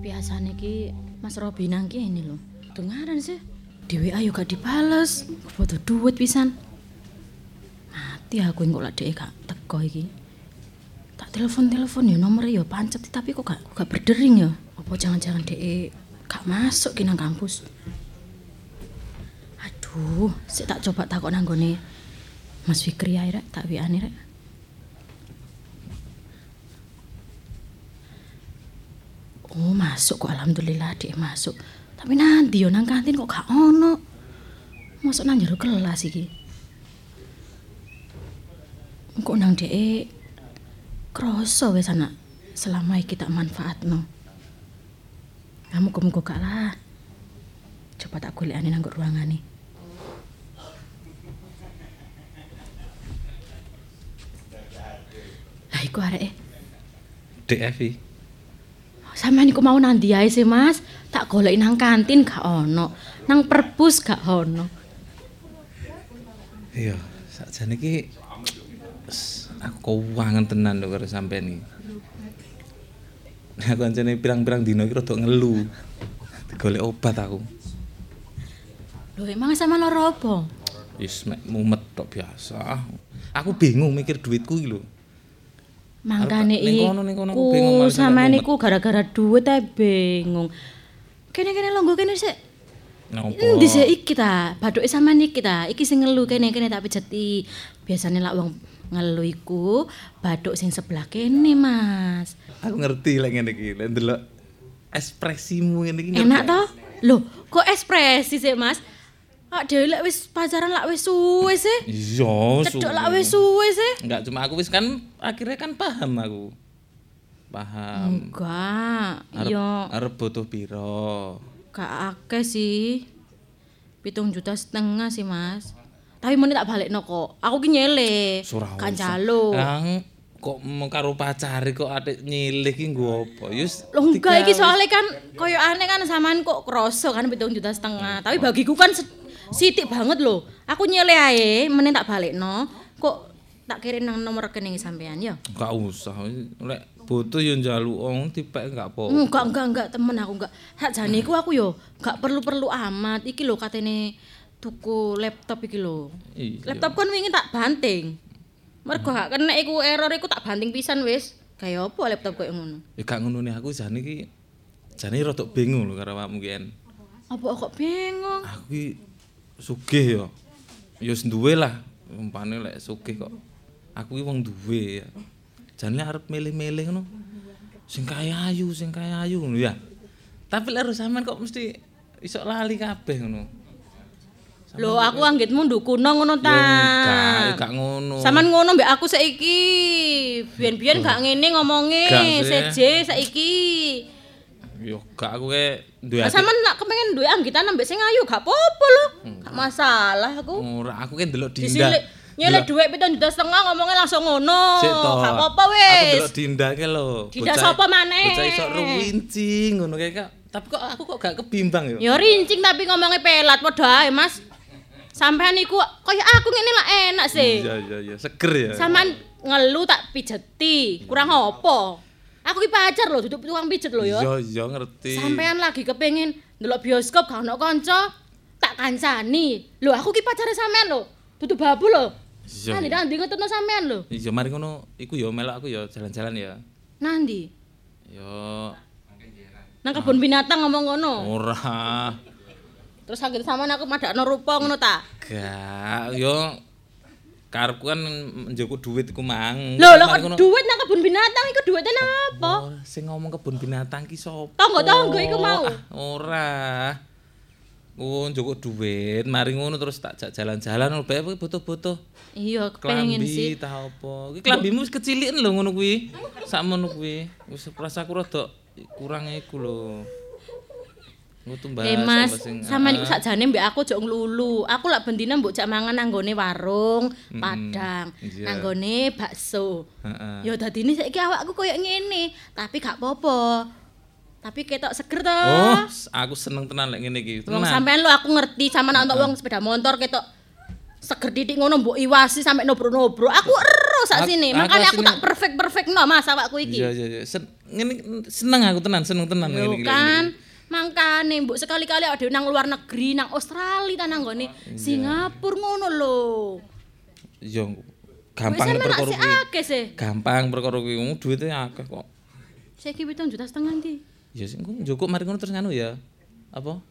Speaker 1: Biasane iki Mas Robi nang kene lho. Dengaran sih. Di WA yo gak dibales. Foto duit pisan. Mati aku engko lak dhek gak teko iki. Tak telepon-telepon ya nomor ya pancet tapi kok gak gak berdering ya. Apa jangan-jangan dhek gak masuk ki nang kampus. Aduh, sik tak coba takok nang gone Mas Fikri ae rek, tak WA-ne rek. Oh masuk kok alhamdulillah dek masuk. Tapi nanti yo nang kantin kok gak ono. Masuk nang jero kelas iki. Kok nang dek kroso wes anak selama iki tak manfaatno. Kamu kok mugo gak lah. Coba tak golekane nang nggo ruangane. Lah iku e. areke.
Speaker 9: DFI.
Speaker 1: Sampeyan iku mau nandi ae sih, Mas. Tak goleki nang kantin gak ono. Nang perpus gak ono.
Speaker 9: Iya, sakjane iki s- aku keuangan tenan lho karo sampean iki. Nah, kancane pirang-pirang dino iki rada ngelu. Golek obat aku.
Speaker 1: Lho, emang sama loro apa?
Speaker 9: Wis mek mumet tok biasa. Aku bingung mikir duitku iki lho.
Speaker 1: Mangkane
Speaker 9: Ning kono, ning kono aku
Speaker 1: iku
Speaker 9: bingung, Mas,
Speaker 1: sampeyan
Speaker 9: nek
Speaker 1: iku gara-gara duit ae bingung. Kene-kene longgo kene sik.
Speaker 9: Napa?
Speaker 1: Endi sik iki ta? Bathuke sampeyan iki ta? Iki sing ngelu kene-kene tak pijeti. Biasane lak wong ngelu iku bathuk sing sebelah kene, Mas.
Speaker 9: Aku ngerti lek ngene iki, lek ndelok ekspresimu ngene iki. ngerti.
Speaker 1: Enak toh? Loh, kok ekspresi sih, Mas? Kok dhewe lek wis pacaran lak wis suwe sih.
Speaker 9: Iya,
Speaker 1: Cedok
Speaker 9: Oh, suwe.
Speaker 1: lak wis suwe sih.
Speaker 9: Enggak cuma aku wis kan akhirnya kan paham aku.
Speaker 1: Hmm,
Speaker 9: Paham.
Speaker 1: Enggak,
Speaker 9: Arep-
Speaker 1: yo
Speaker 9: Arep butuh piro?
Speaker 1: gak akeh sih. Pitung juta setengah sih mas. Tapi mau tak balik kok. Aku ki nyele.
Speaker 9: Surah
Speaker 1: Kan
Speaker 9: usah.
Speaker 1: calo.
Speaker 9: Lang kok mau karo pacare kok atik nyilih ki nggo apa? Yus.
Speaker 1: Loh enggak
Speaker 9: tiga
Speaker 1: iki
Speaker 9: wis.
Speaker 1: soalnya kan koyo aneh kan samaan kok kroso kan pitung juta setengah. Tapi bagiku kan se- sitik banget loh. Aku nyele ae, meneh tak balik Kok tak kirim nang nomor rekening sampean ya?
Speaker 9: Enggak usah. wis. Lek butuh yo njaluk wong tipek enggak apa.
Speaker 1: Enggak, enggak, enggak, temen aku enggak. Sakjane iku aku yo enggak perlu-perlu amat. Iki lho katene tuku laptop iki lho.
Speaker 9: Iya.
Speaker 1: Laptop kan wingi tak banting. Mergo gak kena iku error iku tak banting pisan wis. Kayak apa laptop koyo ngono?
Speaker 9: Ya gak ngono nih aku jane iki jane rada bingung lho karo awakmu ki En.
Speaker 1: Apa kok bingung?
Speaker 9: Aku ki sugih yo. Yo duwe lah. Umpane lek sugih kok. Aku ki wong duwe ya. Jane lek arep milih-milih ngono. Sing kaya ayu, sing kaya ayu ngono ya. Tapi lek harus sampean kok mesti iso lali kabeh ngono.
Speaker 1: Lho, aku anggitmu ndukuno ngono ta. Ah.
Speaker 9: Enggak, gak ngono.
Speaker 1: Saman ngono mbek aku saiki. Biyen-biyen gak ngene ngomonge,
Speaker 9: Gak sih.
Speaker 1: seje saiki.
Speaker 9: Yo gak aku kayak duwe
Speaker 1: Lah
Speaker 9: ati.
Speaker 1: sampean nak kepengin duwe anggitan ambek sing ayu gak apa-apa lho. Gak masalah aku.
Speaker 9: Ora aku kayak ndelok Dinda.
Speaker 1: Disilik nyelek
Speaker 9: Ndelok-
Speaker 1: dhuwit 7 juta setengah ngomongnya langsung ngono.
Speaker 9: Sik to.
Speaker 1: oh, Gak apa-apa
Speaker 9: Aku
Speaker 1: wis.
Speaker 9: delok Dinda ke lho.
Speaker 1: Dinda
Speaker 9: Bocah-
Speaker 1: sapa maneh?
Speaker 9: Bocah iso ruwinci ngono kayak kak. Tapi kok aku kok gak kebimbang yo.
Speaker 1: Ya rincing tapi ngomongnya pelat padha ae, Mas. Sampean iku kaya aku ngene lah enak sih.
Speaker 9: Iya iya iya, seger ya.
Speaker 1: Saman ngelu tak pijeti, kurang apa? Aku ki pacar lho, duduk tukang pijet lho ya.
Speaker 9: Iya iya ngerti.
Speaker 1: Sampean lagi kepengin ndelok bioskop gak ono kanca, tak kancani. Lho aku ki pacare sampean lho, duduk babu lho.
Speaker 9: Iya.
Speaker 1: Nanti nanti ngetutno sampean lho.
Speaker 9: Iya mari ngono iku yo melok aku yo jalan-jalan ya.
Speaker 1: Nanti
Speaker 9: Yo
Speaker 1: nang
Speaker 9: Ah.
Speaker 1: kebun binatang ngomong ngono.
Speaker 9: Oh. ora.
Speaker 1: Terus sakit sampean aku madakno
Speaker 9: Hmm.
Speaker 1: rupa ngono ta.
Speaker 9: Gak yo karepku kan njoko duit iku mang.
Speaker 1: Lho lho kok
Speaker 9: Mari ngono.
Speaker 1: duit nang kebun binatang iku duwite nang apa?
Speaker 9: Oh, sing ngomong kebun binatang ki sapa?
Speaker 1: Tangga-tangga iku mau.
Speaker 9: Ah, ora. Oh, njukuk duit, mari ngono terus tak jak jalan-jalan lho, bae butuh-butuh
Speaker 1: Iya, pengen sih.
Speaker 9: klambi ta apa. Ki klambimu wis keciliken lho ngono kuwi. Sakmono kuwi. Wis rasaku rada kurang iku lho. Ngono tumbas.
Speaker 1: Eh Mas,
Speaker 9: tumbas sing-
Speaker 1: sama niku
Speaker 9: Ah.
Speaker 1: sakjane mbek aku jok nglulu. Aku lak bendina mbok jak mangan nanggone warung Padang,
Speaker 9: iya.
Speaker 1: nanggone bakso.
Speaker 9: Heeh.
Speaker 1: Ya dadine saiki awakku koyo ngene, tapi gak apa-apa. Tapi ketok seger to.
Speaker 9: Oh, s- aku seneng tenan lek ngene iki.
Speaker 1: Wong
Speaker 9: Tenan.
Speaker 1: sampean lho aku ngerti sama nak untuk wong sepeda motor ketok seger titik ngono mbok iwasi sampe nobro-nobro. Aku ero sak
Speaker 9: Aku-
Speaker 1: sini.
Speaker 9: aku
Speaker 1: Makanya aku
Speaker 9: asine-
Speaker 1: tak perfect-perfect no Mas awakku iki.
Speaker 9: Iya, iya, iya. Sen- ngene seneng aku tenan, seneng tenan
Speaker 1: Lho
Speaker 9: ngene iki.
Speaker 1: kan mangkane mbok sekali-kali awake dhewe nang luar negeri nang Australia ta nang nggone
Speaker 9: Iya.
Speaker 1: Singapura ngono lho.
Speaker 9: Yo
Speaker 1: Wis
Speaker 9: gampang perkara
Speaker 1: sih
Speaker 9: kuwi.
Speaker 1: akeh sih.
Speaker 9: gampang perkara kuwi Wong duwite akeh kok
Speaker 1: Saiki 7 juta setengah ndi?
Speaker 9: ya sing ku njukuk mari ngono terus nganu ya apa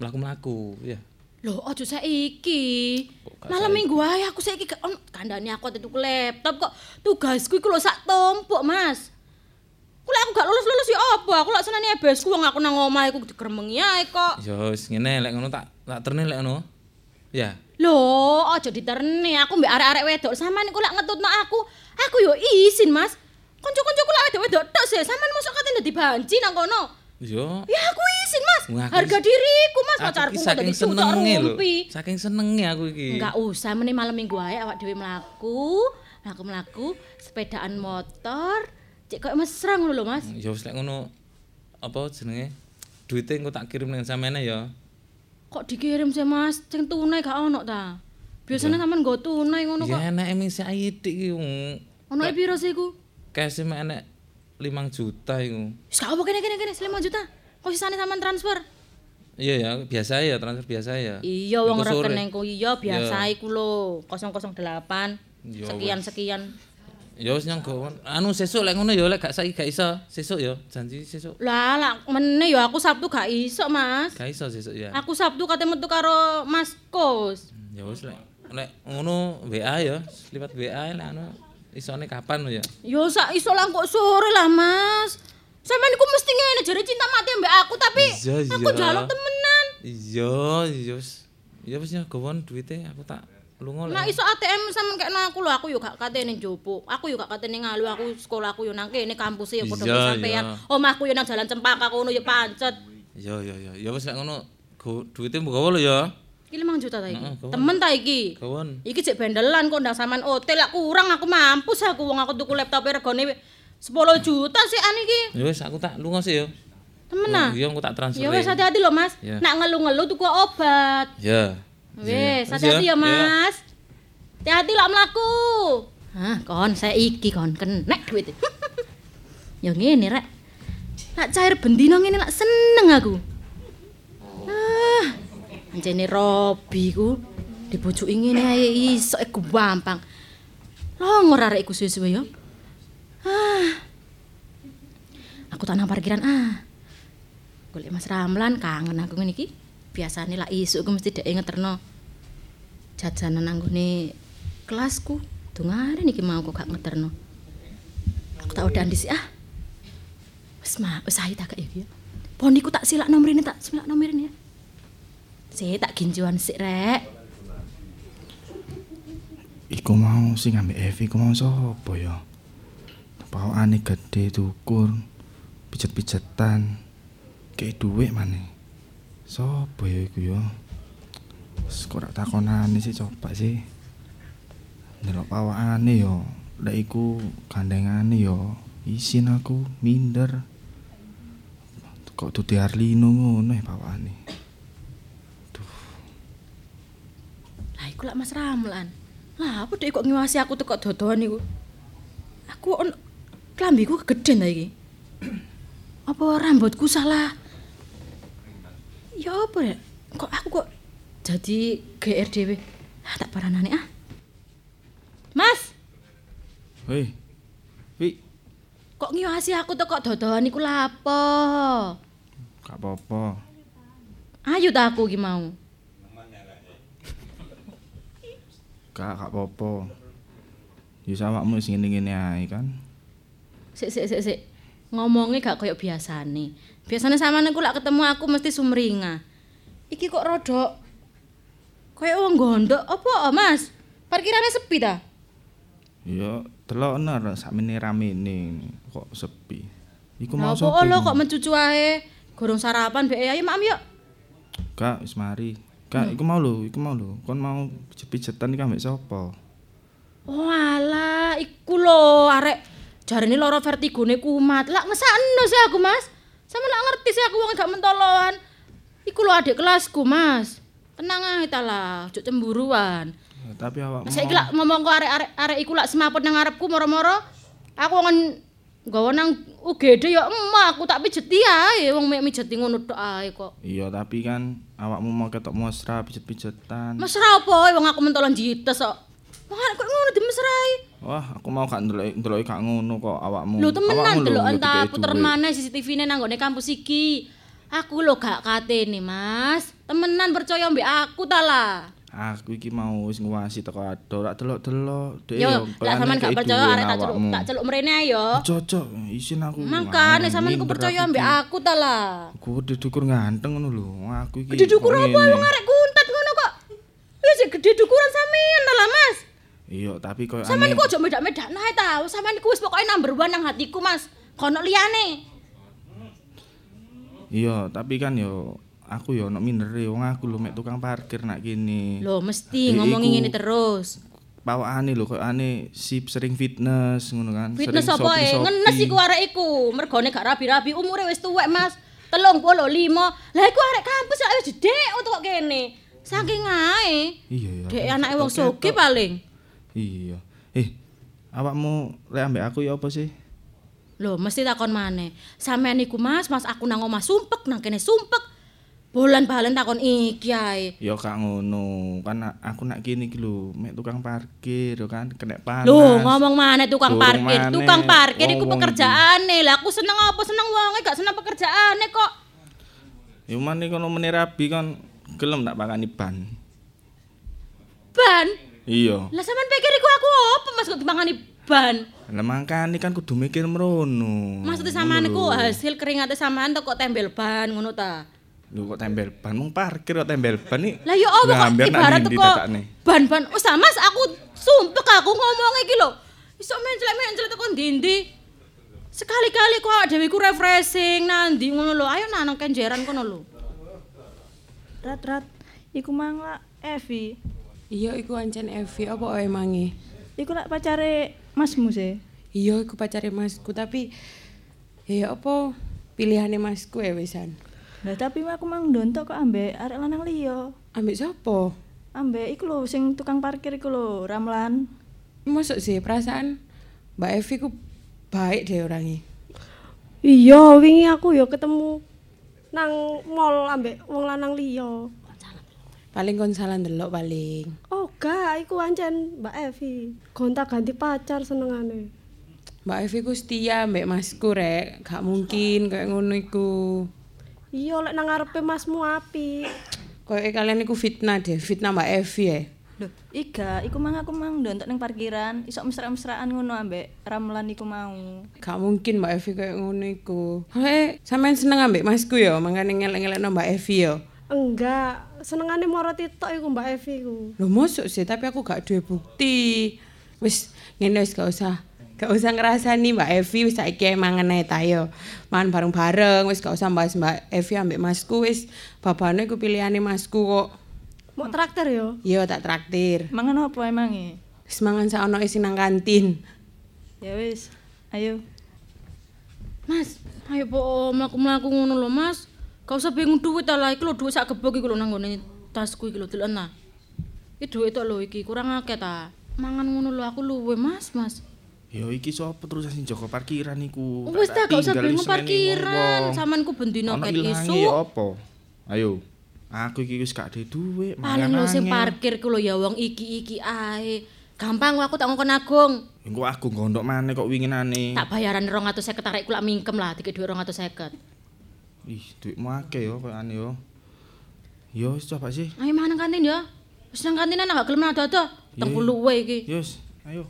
Speaker 9: mlaku-mlaku ya
Speaker 1: Lho aja saiki. Malam minggu ae aku saiki gak ono kandhane aku ate tuku laptop kok tugasku iku lho sak tumpuk, Mas. Kula aku gak lulus-lulus ya apa? Aku lak senane ebesku wong aku nang omah iku digremengi ae kok.
Speaker 9: ya wis ngene lek ngono tak tak terne lek ngono ya
Speaker 1: Lho, aja diterne. Aku mbek arek-arek wedok sampean iku lak ngetutno aku. Aku yo izin, Mas. Kanca-kancaku lak wedok-wedok tok sih. Sampean mosok kate dadi banci nang kono.
Speaker 9: yo
Speaker 1: Ya aku izin, Mas.
Speaker 9: Wah, aku
Speaker 1: Harga
Speaker 9: is-
Speaker 1: diriku, Mas,
Speaker 9: aku
Speaker 1: pacarku
Speaker 9: iki
Speaker 1: kok
Speaker 9: saking
Speaker 1: dadi cucok
Speaker 9: senenge lho
Speaker 1: rumpi.
Speaker 9: saking senenge aku iki
Speaker 1: Enggak usah, meneh malam minggu ae awak dhewe mlaku, mlaku-mlaku sepedaan motor. Cek koyo mesra ngono lho, Mas.
Speaker 9: ya wis lek ngono apa jenenge duite engko tak kirim nang sampeyan ya
Speaker 1: Kok dikirim sih, Mas? Sing tunai gak ono ta? Biasanya sampean nggo tunai ngono kok.
Speaker 9: ya enak emisi ayidik iki wong
Speaker 1: Ono e piro sih iku?
Speaker 9: kese mek enek 5 juta iku
Speaker 1: Wis gak apa kene kene kene 5 juta. Kok sisane sampean transfer?
Speaker 9: iya ya biasa ya transfer biasa ya
Speaker 1: Iya wong
Speaker 9: Engko sore.
Speaker 1: rekeningku iya biasa iku lho 008
Speaker 9: Ya
Speaker 1: sekian sekian.
Speaker 9: Ya wis nyang gawon. Anu sesuk lek ngono ya lek gak saiki gak iso. Sesuk ya, janji sesuk.
Speaker 1: Lah lah meneh ya aku Sabtu gak iso, Mas.
Speaker 9: Gak iso sesuk ya.
Speaker 1: Aku Sabtu kate metu karo Mas Kos.
Speaker 9: Ya wis lek lek ngono WA ya, liwat WA lek anu isone kapan lho ya.
Speaker 1: Yo sak iso lah kok sore lah, Mas. Sampeyan iku mesti ngene jare cinta mati mbek aku tapi
Speaker 9: Iya,
Speaker 1: aku
Speaker 9: iya.
Speaker 1: njaluk temenan.
Speaker 9: Iya, iya wis. Ya wis nyang gawon duwite aku tak lunga
Speaker 1: Nah
Speaker 9: lek.
Speaker 1: iso ATM sampean kekno aku lho, aku yo gak katene jopo. Aku yo gak katene ngalu, aku sekolah aku yo nang kene kampuse yo padha
Speaker 9: Iya,
Speaker 1: karo sampean.
Speaker 9: iya.
Speaker 1: Omahku yo nang Jalan Cempaka kono yo pancet.
Speaker 9: Ya ya ya. Ya wis lek ngono go- duwite mbok gawa lho ya.
Speaker 1: Iki 5 juta ta iki.
Speaker 9: Heeh, kawan.
Speaker 1: Temen ta iki?
Speaker 9: Gawon.
Speaker 1: Iki jek bendelan kok ndang sampean hotel lak kurang aku mampus aku wong aku tuku laptop e regane 10 juta sih an iki.
Speaker 9: Ya wis aku tak lunga sih ya.
Speaker 1: Temenan.
Speaker 9: Ya aku tak transfer.
Speaker 1: Ya wis hati-hati lho Mas.
Speaker 9: Iya.
Speaker 1: Nak ngelu-ngelu tuku obat.
Speaker 9: Ya.
Speaker 1: Wis,
Speaker 9: Iya.
Speaker 1: hati-hati ya
Speaker 9: Iya.
Speaker 1: Mas. Hati-hati lak mlaku. Hah, kon saiki kon kenek duit. ya ngene rek. Nak cair bendino ngene lak seneng aku. Ah, anjene Robi ku dibojoki ngene ae iso e gampang. Longo arek iku suwe-suwe ya. Ah. Aku tak nang parkiran ah. Golek Mas Ramlan kangen aku ngene iki. Biasane lak isuk ku mesti dhek ngeterno jajanan nanggone kelasku. Dungaren iki mau kok gak ngeterno. Aku tak udahan dhisik ah. Wis mah, wis ae tak gak ya. Poniku tak silak nomorine tak silak nomorine ya. Sik tak ginjuan sik rek.
Speaker 10: Iku mau sing ambek Evi iku mau sapa ya? Pawakane gede tukur, pijet-pijetan. Kayak dhuwit maneh. Sapa ya iku ya? Wes, Kok ora takonane sih coba sih. Ndelok pawakane ya, lek iku gandengane ya isin aku minder. Kok Dude Arlino ngono ya pawakane.
Speaker 1: Lah iku lak Mas Ramlan. Lah apa dek kok ngiwasi aku tekok dodoan iku? Aku on klambiku kegeden ta iki. Apa rambutku salah? Ya apa ya? Kok aku kok jadi GR dhewe? Ah, tak paranane ah. Mas,
Speaker 10: Hei. Wi,
Speaker 1: kok ngiwasi aku tekok dodoan iku lha apa?
Speaker 10: gak apa-apa.
Speaker 1: Ayo ta aku iki mau.
Speaker 10: Gak gak apa-apa. Ya awakmu sing ngene-ngene ae kan.
Speaker 1: Sik sik sik sik. Ngomongnya gak koyo biasane. Biasane samane ku lak ketemu aku mesti sumringah. Iki kok rodok koyo wong gondok apa, Mas? Parkirane sepi ta?
Speaker 10: Ya delokno lho sakmene ramene kok sepi. Iku mau
Speaker 1: Lah opo lho
Speaker 10: iku?
Speaker 1: kok mencucu ae? Gorong sarapan beke ayo maam yuk.
Speaker 10: Kak wis mari.
Speaker 1: Hmm.
Speaker 10: Kak iku mau lho, iku mau lho. Kon mau pijet-pijetan iki ambek sapa?
Speaker 1: Walah, Oh, iku lho arek jarene lara vertigone kumat. Lah ngesakno sih aku, Mas. Sama lak ngerti sih aku wong gak mentoloan. Iku lho adik kelasku, Mas. Tenang ae ta lah, ojo cemburuan.
Speaker 10: Ya, Tapi awakmu.
Speaker 1: Saiki lak ngomong kok arek-arek arek iku lak semaput nang ngarepku moro-moro. Aku wongen nggawa nang UGD ya emak aku tak pijeti ae wong mek mijeti ngono tok ae kok.
Speaker 10: Iya, tapi kan awakmu mau ketok mesra pijet-pijetan.
Speaker 1: Mesra apa wong aku mentolon jites kok. Wong arek kok ngono dimesrai.
Speaker 10: Wah, aku mau gak ndelok ndelok gak ngono kok awakmu.
Speaker 1: Lho temenan
Speaker 10: Hmm, Awakmu lho,
Speaker 1: delokan
Speaker 10: nggak
Speaker 1: ta
Speaker 10: dikei
Speaker 1: puter
Speaker 10: duit.
Speaker 1: maneh CCTV-ne nang nggone kampus iki. Aku lho gak katene, Mas. Temenan percaya mbek aku ta lah.
Speaker 10: Aku iki mau wis nguwasi teko ado, rak delok-delok. Dek
Speaker 1: Yo, lak sampean gak percaya arek tak celuk
Speaker 10: celuk
Speaker 1: tak celuk mrene ayo.
Speaker 10: Cocok, isin aku. Wah,
Speaker 1: Mangkane Oh. sampean iku
Speaker 10: minder
Speaker 1: percaya mbek
Speaker 10: iki.
Speaker 1: aku ta lah.
Speaker 10: Aku udah dukur ganteng ngono lho. Aku iki.
Speaker 1: Gede dukur
Speaker 10: kok
Speaker 1: apa
Speaker 10: ngene.
Speaker 1: wong arek kuntet ngono kok. Wis gede dukuran sampean ta lah, Mas.
Speaker 10: Iya, tapi koyo
Speaker 1: Sampean iku ojo medak-medakno ae ta. Sampean iku wis pokoke number one nang hatiku, Mas. Kono liyane.
Speaker 10: Iya, tapi kan yo aku yo ono mindere wong aku lho mek tukang parkir nak kene.
Speaker 1: Lho, mesti
Speaker 10: Dek iku-
Speaker 1: ngomongi ngene terus.
Speaker 10: Pawakane lho koyo ane sip sering fitness ngono kan.
Speaker 1: Fitness
Speaker 10: sering
Speaker 1: apa e?
Speaker 10: shopping-shopping.
Speaker 1: Ngenes iku arek iku. Mergone gak rabi-rabi, umure wis tuwek, Mas. 35. Lah iku arek kampus lak wis dedek untuk kok kene. Saking ae.
Speaker 10: Iya, iya.
Speaker 1: Dek
Speaker 10: aku
Speaker 1: anake wong
Speaker 10: ketok-ketok.
Speaker 1: soge paling.
Speaker 10: Iya. Eh, awakmu lek ambek aku ya apa sih?
Speaker 1: Loh, mesti takon maneh. Sampean iku Mas, Mas aku nang omah sumpek, nang kene sumpek. Bolan-balen takon iki ae.
Speaker 10: Ya gak ngono. Kan a- aku nak kene iki lho mek tukang parkir yo kan kena panas.
Speaker 1: Loh, ngomong maneh tukang
Speaker 10: Durung
Speaker 1: parkir.
Speaker 10: maneh.
Speaker 1: Tukang parkir iku
Speaker 10: Wong-wong
Speaker 1: pekerjaane. Lah aku seneng apa seneng wonge gak seneng pekerjaane kok.
Speaker 10: Cuman nih kono menirabi kan gelem tak pakani ban.
Speaker 1: Ban.
Speaker 10: Iya.
Speaker 1: Lah sampean pikir iku aku apa Mas kok dimangani ban?
Speaker 10: Lah mangkane kan kudu mikir merono.
Speaker 1: Maksudnya sampean iku hasil keringate sampean to kok tembel ban ngono ta.
Speaker 10: Lho kok tembel ban mung parkir kok tembel ban iki.
Speaker 1: Lah ya apa kok
Speaker 10: hampir nak
Speaker 1: ibarat
Speaker 10: ndi
Speaker 1: kok
Speaker 10: tatakne.
Speaker 1: ban-ban wis ta, Oh, Mas aku sumpek aku ngomong iki lho. Iso menclek-menclek teko ndi-ndi. Sekali-kali kok awak dhewe ku refreshing nandi ngono lho. Ayo nang kenjeran kono lho.
Speaker 11: Rat rat, iku mang lak Evi. Iya, iku ancen Evi apa oe mangi? Iku lak pacare Masmu sih. Iya, iku pacare Masku, tapi ya apa pilihane Masku ya wisan.
Speaker 7: Lah tapi aku mang ndontok kok ambek arek lanang liya.
Speaker 11: Ambek sapa?
Speaker 7: Ambek iku lho sing tukang parkir iku lho, Ramlan.
Speaker 11: Masuk sih perasaan Mbak Evi ku baik deh orangnya.
Speaker 12: Iya, wingi aku ya ketemu nang mall ambek wong lanang liya.
Speaker 11: Paling kon salah ndelok paling.
Speaker 12: Oh, gak, iku ancen Mbak Evi. Gonta-ganti pacar senengane.
Speaker 11: Mbak Evi ku setia mbak Masku rek, gak mungkin kayak ngono iku.
Speaker 12: Iya, lek nang ngarepe masmu apik.
Speaker 11: Kayak kalian iku fitnah deh, fitnah Mbak Evi ya.
Speaker 7: Loh, iga iku mang aku mang ndontok ning parkiran, iso mesra-mesraan ngono ambek Ramlan iku mau.
Speaker 11: Gak mungkin Mbak Evi kayak ngono iku. Hei, sampean seneng ambek Masku ya, mangane ngelek-ngelekno Mbak Evi ya.
Speaker 12: Enggak, senengane moro titok iku Mbak Evi ku.
Speaker 11: Lho mosok sih, tapi aku gak duwe bukti. Wis ngene wis gak usah. Gak usah ngrasani Mbak Evi wis saiki mangan ae ta yo. Mangan bareng-bareng wis gak usah bahas Mbak Evi ambek Masku wis babane iku pilihane Masku kok.
Speaker 12: Mau traktir ya? yo.
Speaker 11: Iya tak traktir.
Speaker 13: Mangan apa
Speaker 1: e?
Speaker 13: emange?
Speaker 11: Wis mangan saono sing nang kantin.
Speaker 13: Ya wis, ayo.
Speaker 1: Mas, ayo po mlaku-mlaku ngono lho, Mas. Gak usah bingung duit ta lah, iki lho duit sak gebok iki lho nang nggone tasku iki lho deloken ta. Iki duit tok lho iki, kurang akeh ta. Mangan ngono lho aku luwe, Mas, Mas.
Speaker 10: Ya iki sapa terus sing jaga parkiran iku?
Speaker 1: Wis ta gak usah
Speaker 10: tinggal
Speaker 1: bingung
Speaker 10: isine
Speaker 1: parkiran,
Speaker 10: wong-wong.
Speaker 1: sampean ku bendino
Speaker 10: Ana
Speaker 1: ket
Speaker 10: ilange
Speaker 1: isu.
Speaker 10: ya apa? Ayo. Aku iki wis gak ada duit,
Speaker 1: Paling lho sing parkir ku lho ya wong iki-iki ae. Gampang kok aku tak ngongkon Agung.
Speaker 10: Engko aku gondok maneh kok winginane.
Speaker 1: Tak bayaran 250 tarik kula mingkem lah, dikek dhuwit 250.
Speaker 10: Ih, duitmu akeh ya koyane yo. Yo wis coba sih.
Speaker 1: Ayo mangan nang kantin ya. Wis nang kantin ana gak gelem nado-ado. Teng
Speaker 10: Iya.
Speaker 1: puluwe iki.
Speaker 10: Yus, ayo.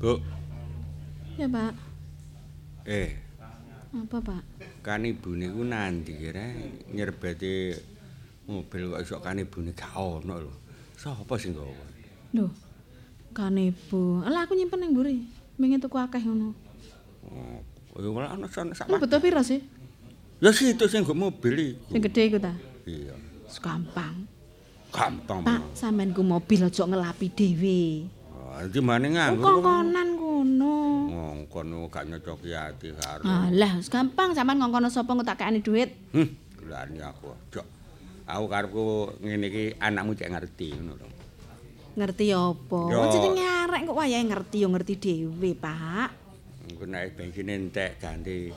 Speaker 5: Bu,
Speaker 3: Ya, Pak.
Speaker 5: eh,
Speaker 3: Apa, Pak?
Speaker 5: kan ibune ku nanti kira nyerbete mobil kok iso kan ibune gak ono lho. Sapa sing gawa?
Speaker 3: Loh. Kanebo. Lah aku nyimpen nang mburi. Mengin tuku akeh ngono.
Speaker 5: Oh, ya ora ono sana sak.
Speaker 3: Ini butuh pira sih?
Speaker 5: Ya situ sing nggo mobil iku.
Speaker 3: Sing gede iku ta?
Speaker 5: Iya,
Speaker 3: Gampang.
Speaker 5: gampang.
Speaker 3: Pak, sampean ku mobil aja ngelapi dhewe.
Speaker 5: Ah, Ndi mane nganggo.
Speaker 3: Kongkonan ngono.
Speaker 5: Ngongkon Oh, gak nyocoki ati karo.
Speaker 3: Alah, gampang sampean ngongkono sapa engko tak kakekne dhuwit.
Speaker 5: Hmm, gelani aku. Jok. Aku karepku ngene iki anakmu cek ngerti ngono lho.
Speaker 3: Ngerti apa?
Speaker 5: Ya.
Speaker 3: Kok jenenge arek kok wayahe ngerti ya ngerti dhewe, Pak.
Speaker 5: Engko nek bensin entek ganti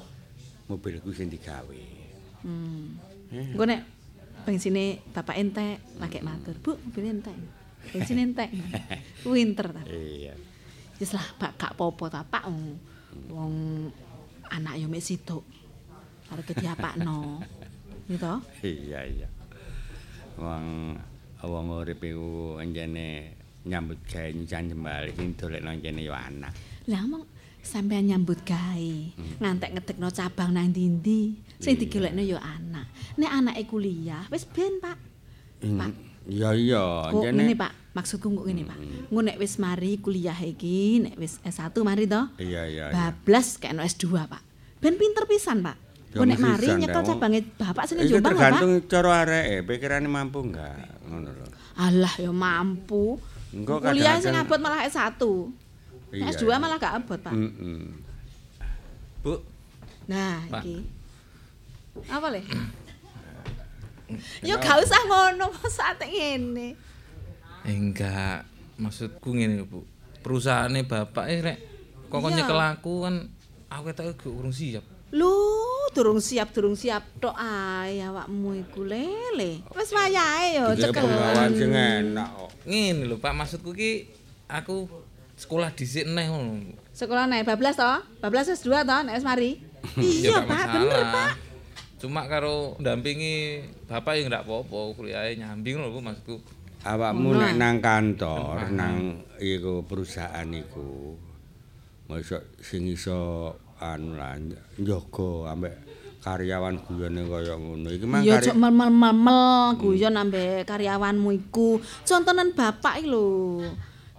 Speaker 5: mobilku sing digawe.
Speaker 3: Hmm.
Speaker 5: Eh.
Speaker 3: Engko nek bensine bapak entek, lagi matur, Bu, mobil entek. Bensin entek. Winter ta.
Speaker 5: Iya.
Speaker 3: Wis lah, Pak, gak apa-apa ta, Pak. Wong anak yo mek situk. Arep diapakno. Gitu toh?
Speaker 5: Iya iya. Wong wong urip iku anjene nyambut gawe nyucan jembali sing dolekno anjene yo anak.
Speaker 3: Lah mong sampean nyambut gawe, ngantek ngedekno cabang nang ndi-ndi. Sing digolekno ya anak. Nek anake kuliah, wis ben, Pak. Pak.
Speaker 5: Iya iya
Speaker 3: Kok ngene,
Speaker 5: anjene.
Speaker 3: Pak. Maksudku kok ngene, Pak. Engko nek wis mari kuliah iki, nek wis S1 mari to,
Speaker 5: Iya iya. iya.
Speaker 3: bablas kena S2, Pak. Ben pinter pisan, Pak.
Speaker 5: Ya,
Speaker 3: Engko nek
Speaker 5: pisan,
Speaker 3: mari nyekel
Speaker 5: Pak.
Speaker 3: cabange Bapak sini
Speaker 5: Iki
Speaker 3: Jombang lho, Pak.
Speaker 5: tergantung cara areke, pikirane mampu enggak ngono lho.
Speaker 3: Alah ya mampu.
Speaker 5: Engko
Speaker 3: Kuliah sing
Speaker 5: kadang-kadang-
Speaker 3: abot malah S1. Nek
Speaker 5: Iya,
Speaker 3: S2
Speaker 5: iya.
Speaker 3: malah gak abot, Pak.
Speaker 5: Heeh.
Speaker 9: Bu,
Speaker 3: Nah,
Speaker 9: Pak.
Speaker 3: iki. Apa le? Yo gak usah ngono masa ate ngene.
Speaker 9: Eh, enggak maksudku ngene Bu perusahaane bapak eh rek kok kon
Speaker 3: Iya.
Speaker 9: nyekel aku kan aku ketok e, gak urung siap
Speaker 3: Lho, durung siap, durung siap tok ae awakmu iku lele. Wis wayahe
Speaker 9: Gitu ya,
Speaker 3: yo
Speaker 5: Iki
Speaker 3: cekel.
Speaker 5: penggawean sing enak kok.
Speaker 9: ngene lho Pak maksudku ki aku sekolah dhisik neh ngono
Speaker 3: Sekolah naik bablas to? Bablas wis 2 to nek wis mari.
Speaker 9: Ya,
Speaker 3: Iya,
Speaker 9: gak
Speaker 3: Pak, bener,
Speaker 9: masalah.
Speaker 3: Pak.
Speaker 9: cuma karo dampingi bapak ya nggak apa-apa kuliahnya nyambing lho Bu maksudku
Speaker 5: Awakmu
Speaker 9: Ngono
Speaker 5: nek
Speaker 9: ae.
Speaker 5: nang kantor, nang iku perusahaan iku. Mosok sing iso anu lah njaga ambek karyawan guyone kaya ngono. Iki mang
Speaker 3: Iya, cok
Speaker 5: karya-
Speaker 3: mel-mel guyon ambek karyawanmu iku. Contonen bapak iki lho.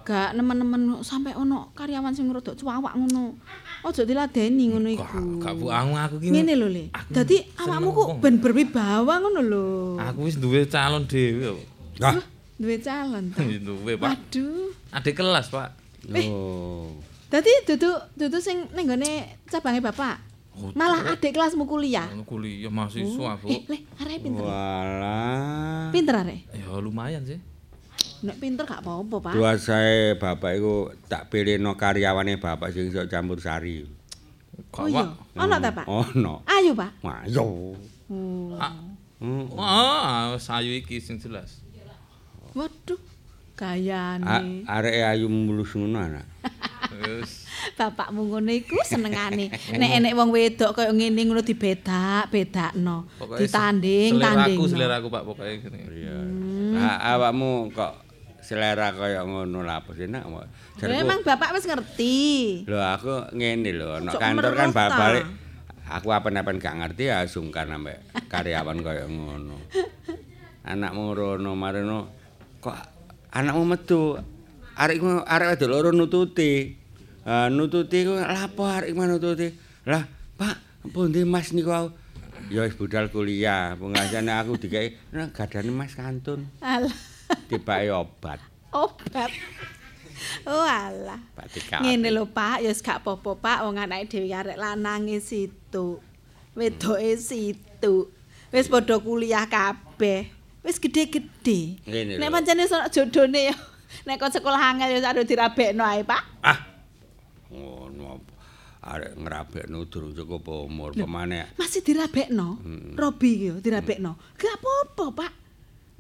Speaker 3: Gak nemen-nemen sampe ono karyawan sing rodok cuawak ngono. Ojo diladeni ngono iku.
Speaker 9: gak Bu aku aku ki
Speaker 3: Ngene lho, Le. Dadi awakmu kok ben berwibawa ngono lho.
Speaker 9: aku wis duwe calon dhewe kok
Speaker 5: Hah
Speaker 3: Duwe calon. ta.
Speaker 9: duwe Pak
Speaker 3: Aduh.
Speaker 9: adik kelas Pak
Speaker 3: Eh.
Speaker 5: oh
Speaker 3: Dadi dudu dudu sing ning gone cabange bapak. Malah adik kelasmu kuliah.
Speaker 9: Oh, kuliah mahasiswa Bu
Speaker 3: Eh, Le, arek pinter.
Speaker 5: walah
Speaker 3: Pinter arek.
Speaker 9: ya lumayan sih
Speaker 3: Nek pinter gak apa-apa, Pak.
Speaker 5: Dua saya bapak iku tak pilihno karyawane bapak sing iso campur sari. Hmm.
Speaker 3: Oh iya. Ono ta, Pak?
Speaker 5: Ono.
Speaker 3: Ayo, Pak.
Speaker 5: Ayo.
Speaker 3: Oh.
Speaker 5: Hmm.
Speaker 9: Wah, sayu iki sing jelas.
Speaker 3: Waduh,
Speaker 5: A-
Speaker 3: gayane.
Speaker 5: Ah. Areke ayu mulus ngono anak.
Speaker 9: Wis.
Speaker 3: Bapakmu ngono iku senengane. Nek enek wong wedok kaya ngene ngono dibedak-bedakno,
Speaker 9: Pokoke
Speaker 3: ditanding-tanding.
Speaker 9: Seleraku, seleraku Pak pokoke ngene. Iya.
Speaker 3: Hmm.
Speaker 5: Nah, awakmu kok selera kaya ngono lapus enak kok. Jarku-
Speaker 3: Memang bapak wis ngerti.
Speaker 5: Lho aku ngene lho, nek
Speaker 3: Ojo
Speaker 5: kantor kan
Speaker 3: merota.
Speaker 5: balik aku apen-apen gak ngerti ya sungkan sampe karyawan kaya ngono. Anakmu rono marino kok anakmu metu arek arek wedok loro nututi. Eh, nututi ku lapo arek iku nututi. Lah, Pak, pundi Mas niku aku? Ya wis budal kuliah, pengasane aku dikai nah, gadane Mas kantun,
Speaker 3: Alah,
Speaker 5: tibake obat,
Speaker 3: obat. Oh alah.
Speaker 5: Pak Tika.
Speaker 3: Ngene lho Pak, ya wis gak apa-apa Pak, wong anake dhewe arek lanange situ. Wedoke situ. Wis padha kuliah kabeh. Wis gede-gede.
Speaker 5: Ngene
Speaker 3: Nek
Speaker 5: lho.
Speaker 3: pancene sono jodone ya. Nek kon sekolah angel ya sakdo dirabekno ae, Pak.
Speaker 5: Ah! ngono apa arek ngrabekno durung cukup umur pemane
Speaker 3: Masih dirabekno.
Speaker 5: Mm.
Speaker 3: Robi iki yo dirabekno.
Speaker 9: Hmm.
Speaker 3: Gak apa-apa, Pak.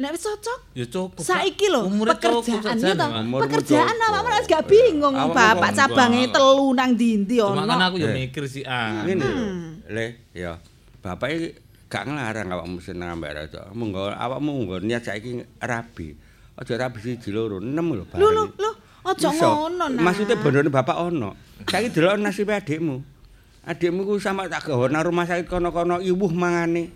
Speaker 3: Nek wis cocok,
Speaker 9: Ya cukup.
Speaker 3: Saiki lho pekerjaan ya toh.
Speaker 9: Umurmu
Speaker 3: Pekerjaan
Speaker 9: cukup.
Speaker 3: awakmu wis gak bingung
Speaker 9: Awakmu
Speaker 3: Bapak
Speaker 9: kok
Speaker 3: cabange
Speaker 9: enggak.
Speaker 3: telu nang ndi-ndi ono. Hmm.
Speaker 9: Cuma kan aku ya
Speaker 5: Eh.
Speaker 9: mikir sih ah.
Speaker 5: ngene lho le ya bapak iki gak ngelarang awakmu seneng ambek rada monggo awakmu monggo niat saiki rabi aja rabi siji loro enem lho
Speaker 3: Lho lho
Speaker 5: bareng
Speaker 3: lho, aja
Speaker 5: Iso.
Speaker 3: ngono nah.
Speaker 5: maksudnya bondone bapak ono saiki delok nasibe adikmu adikmu ku sama tak gawe nang rumah sakit kono-kono iwuh mangane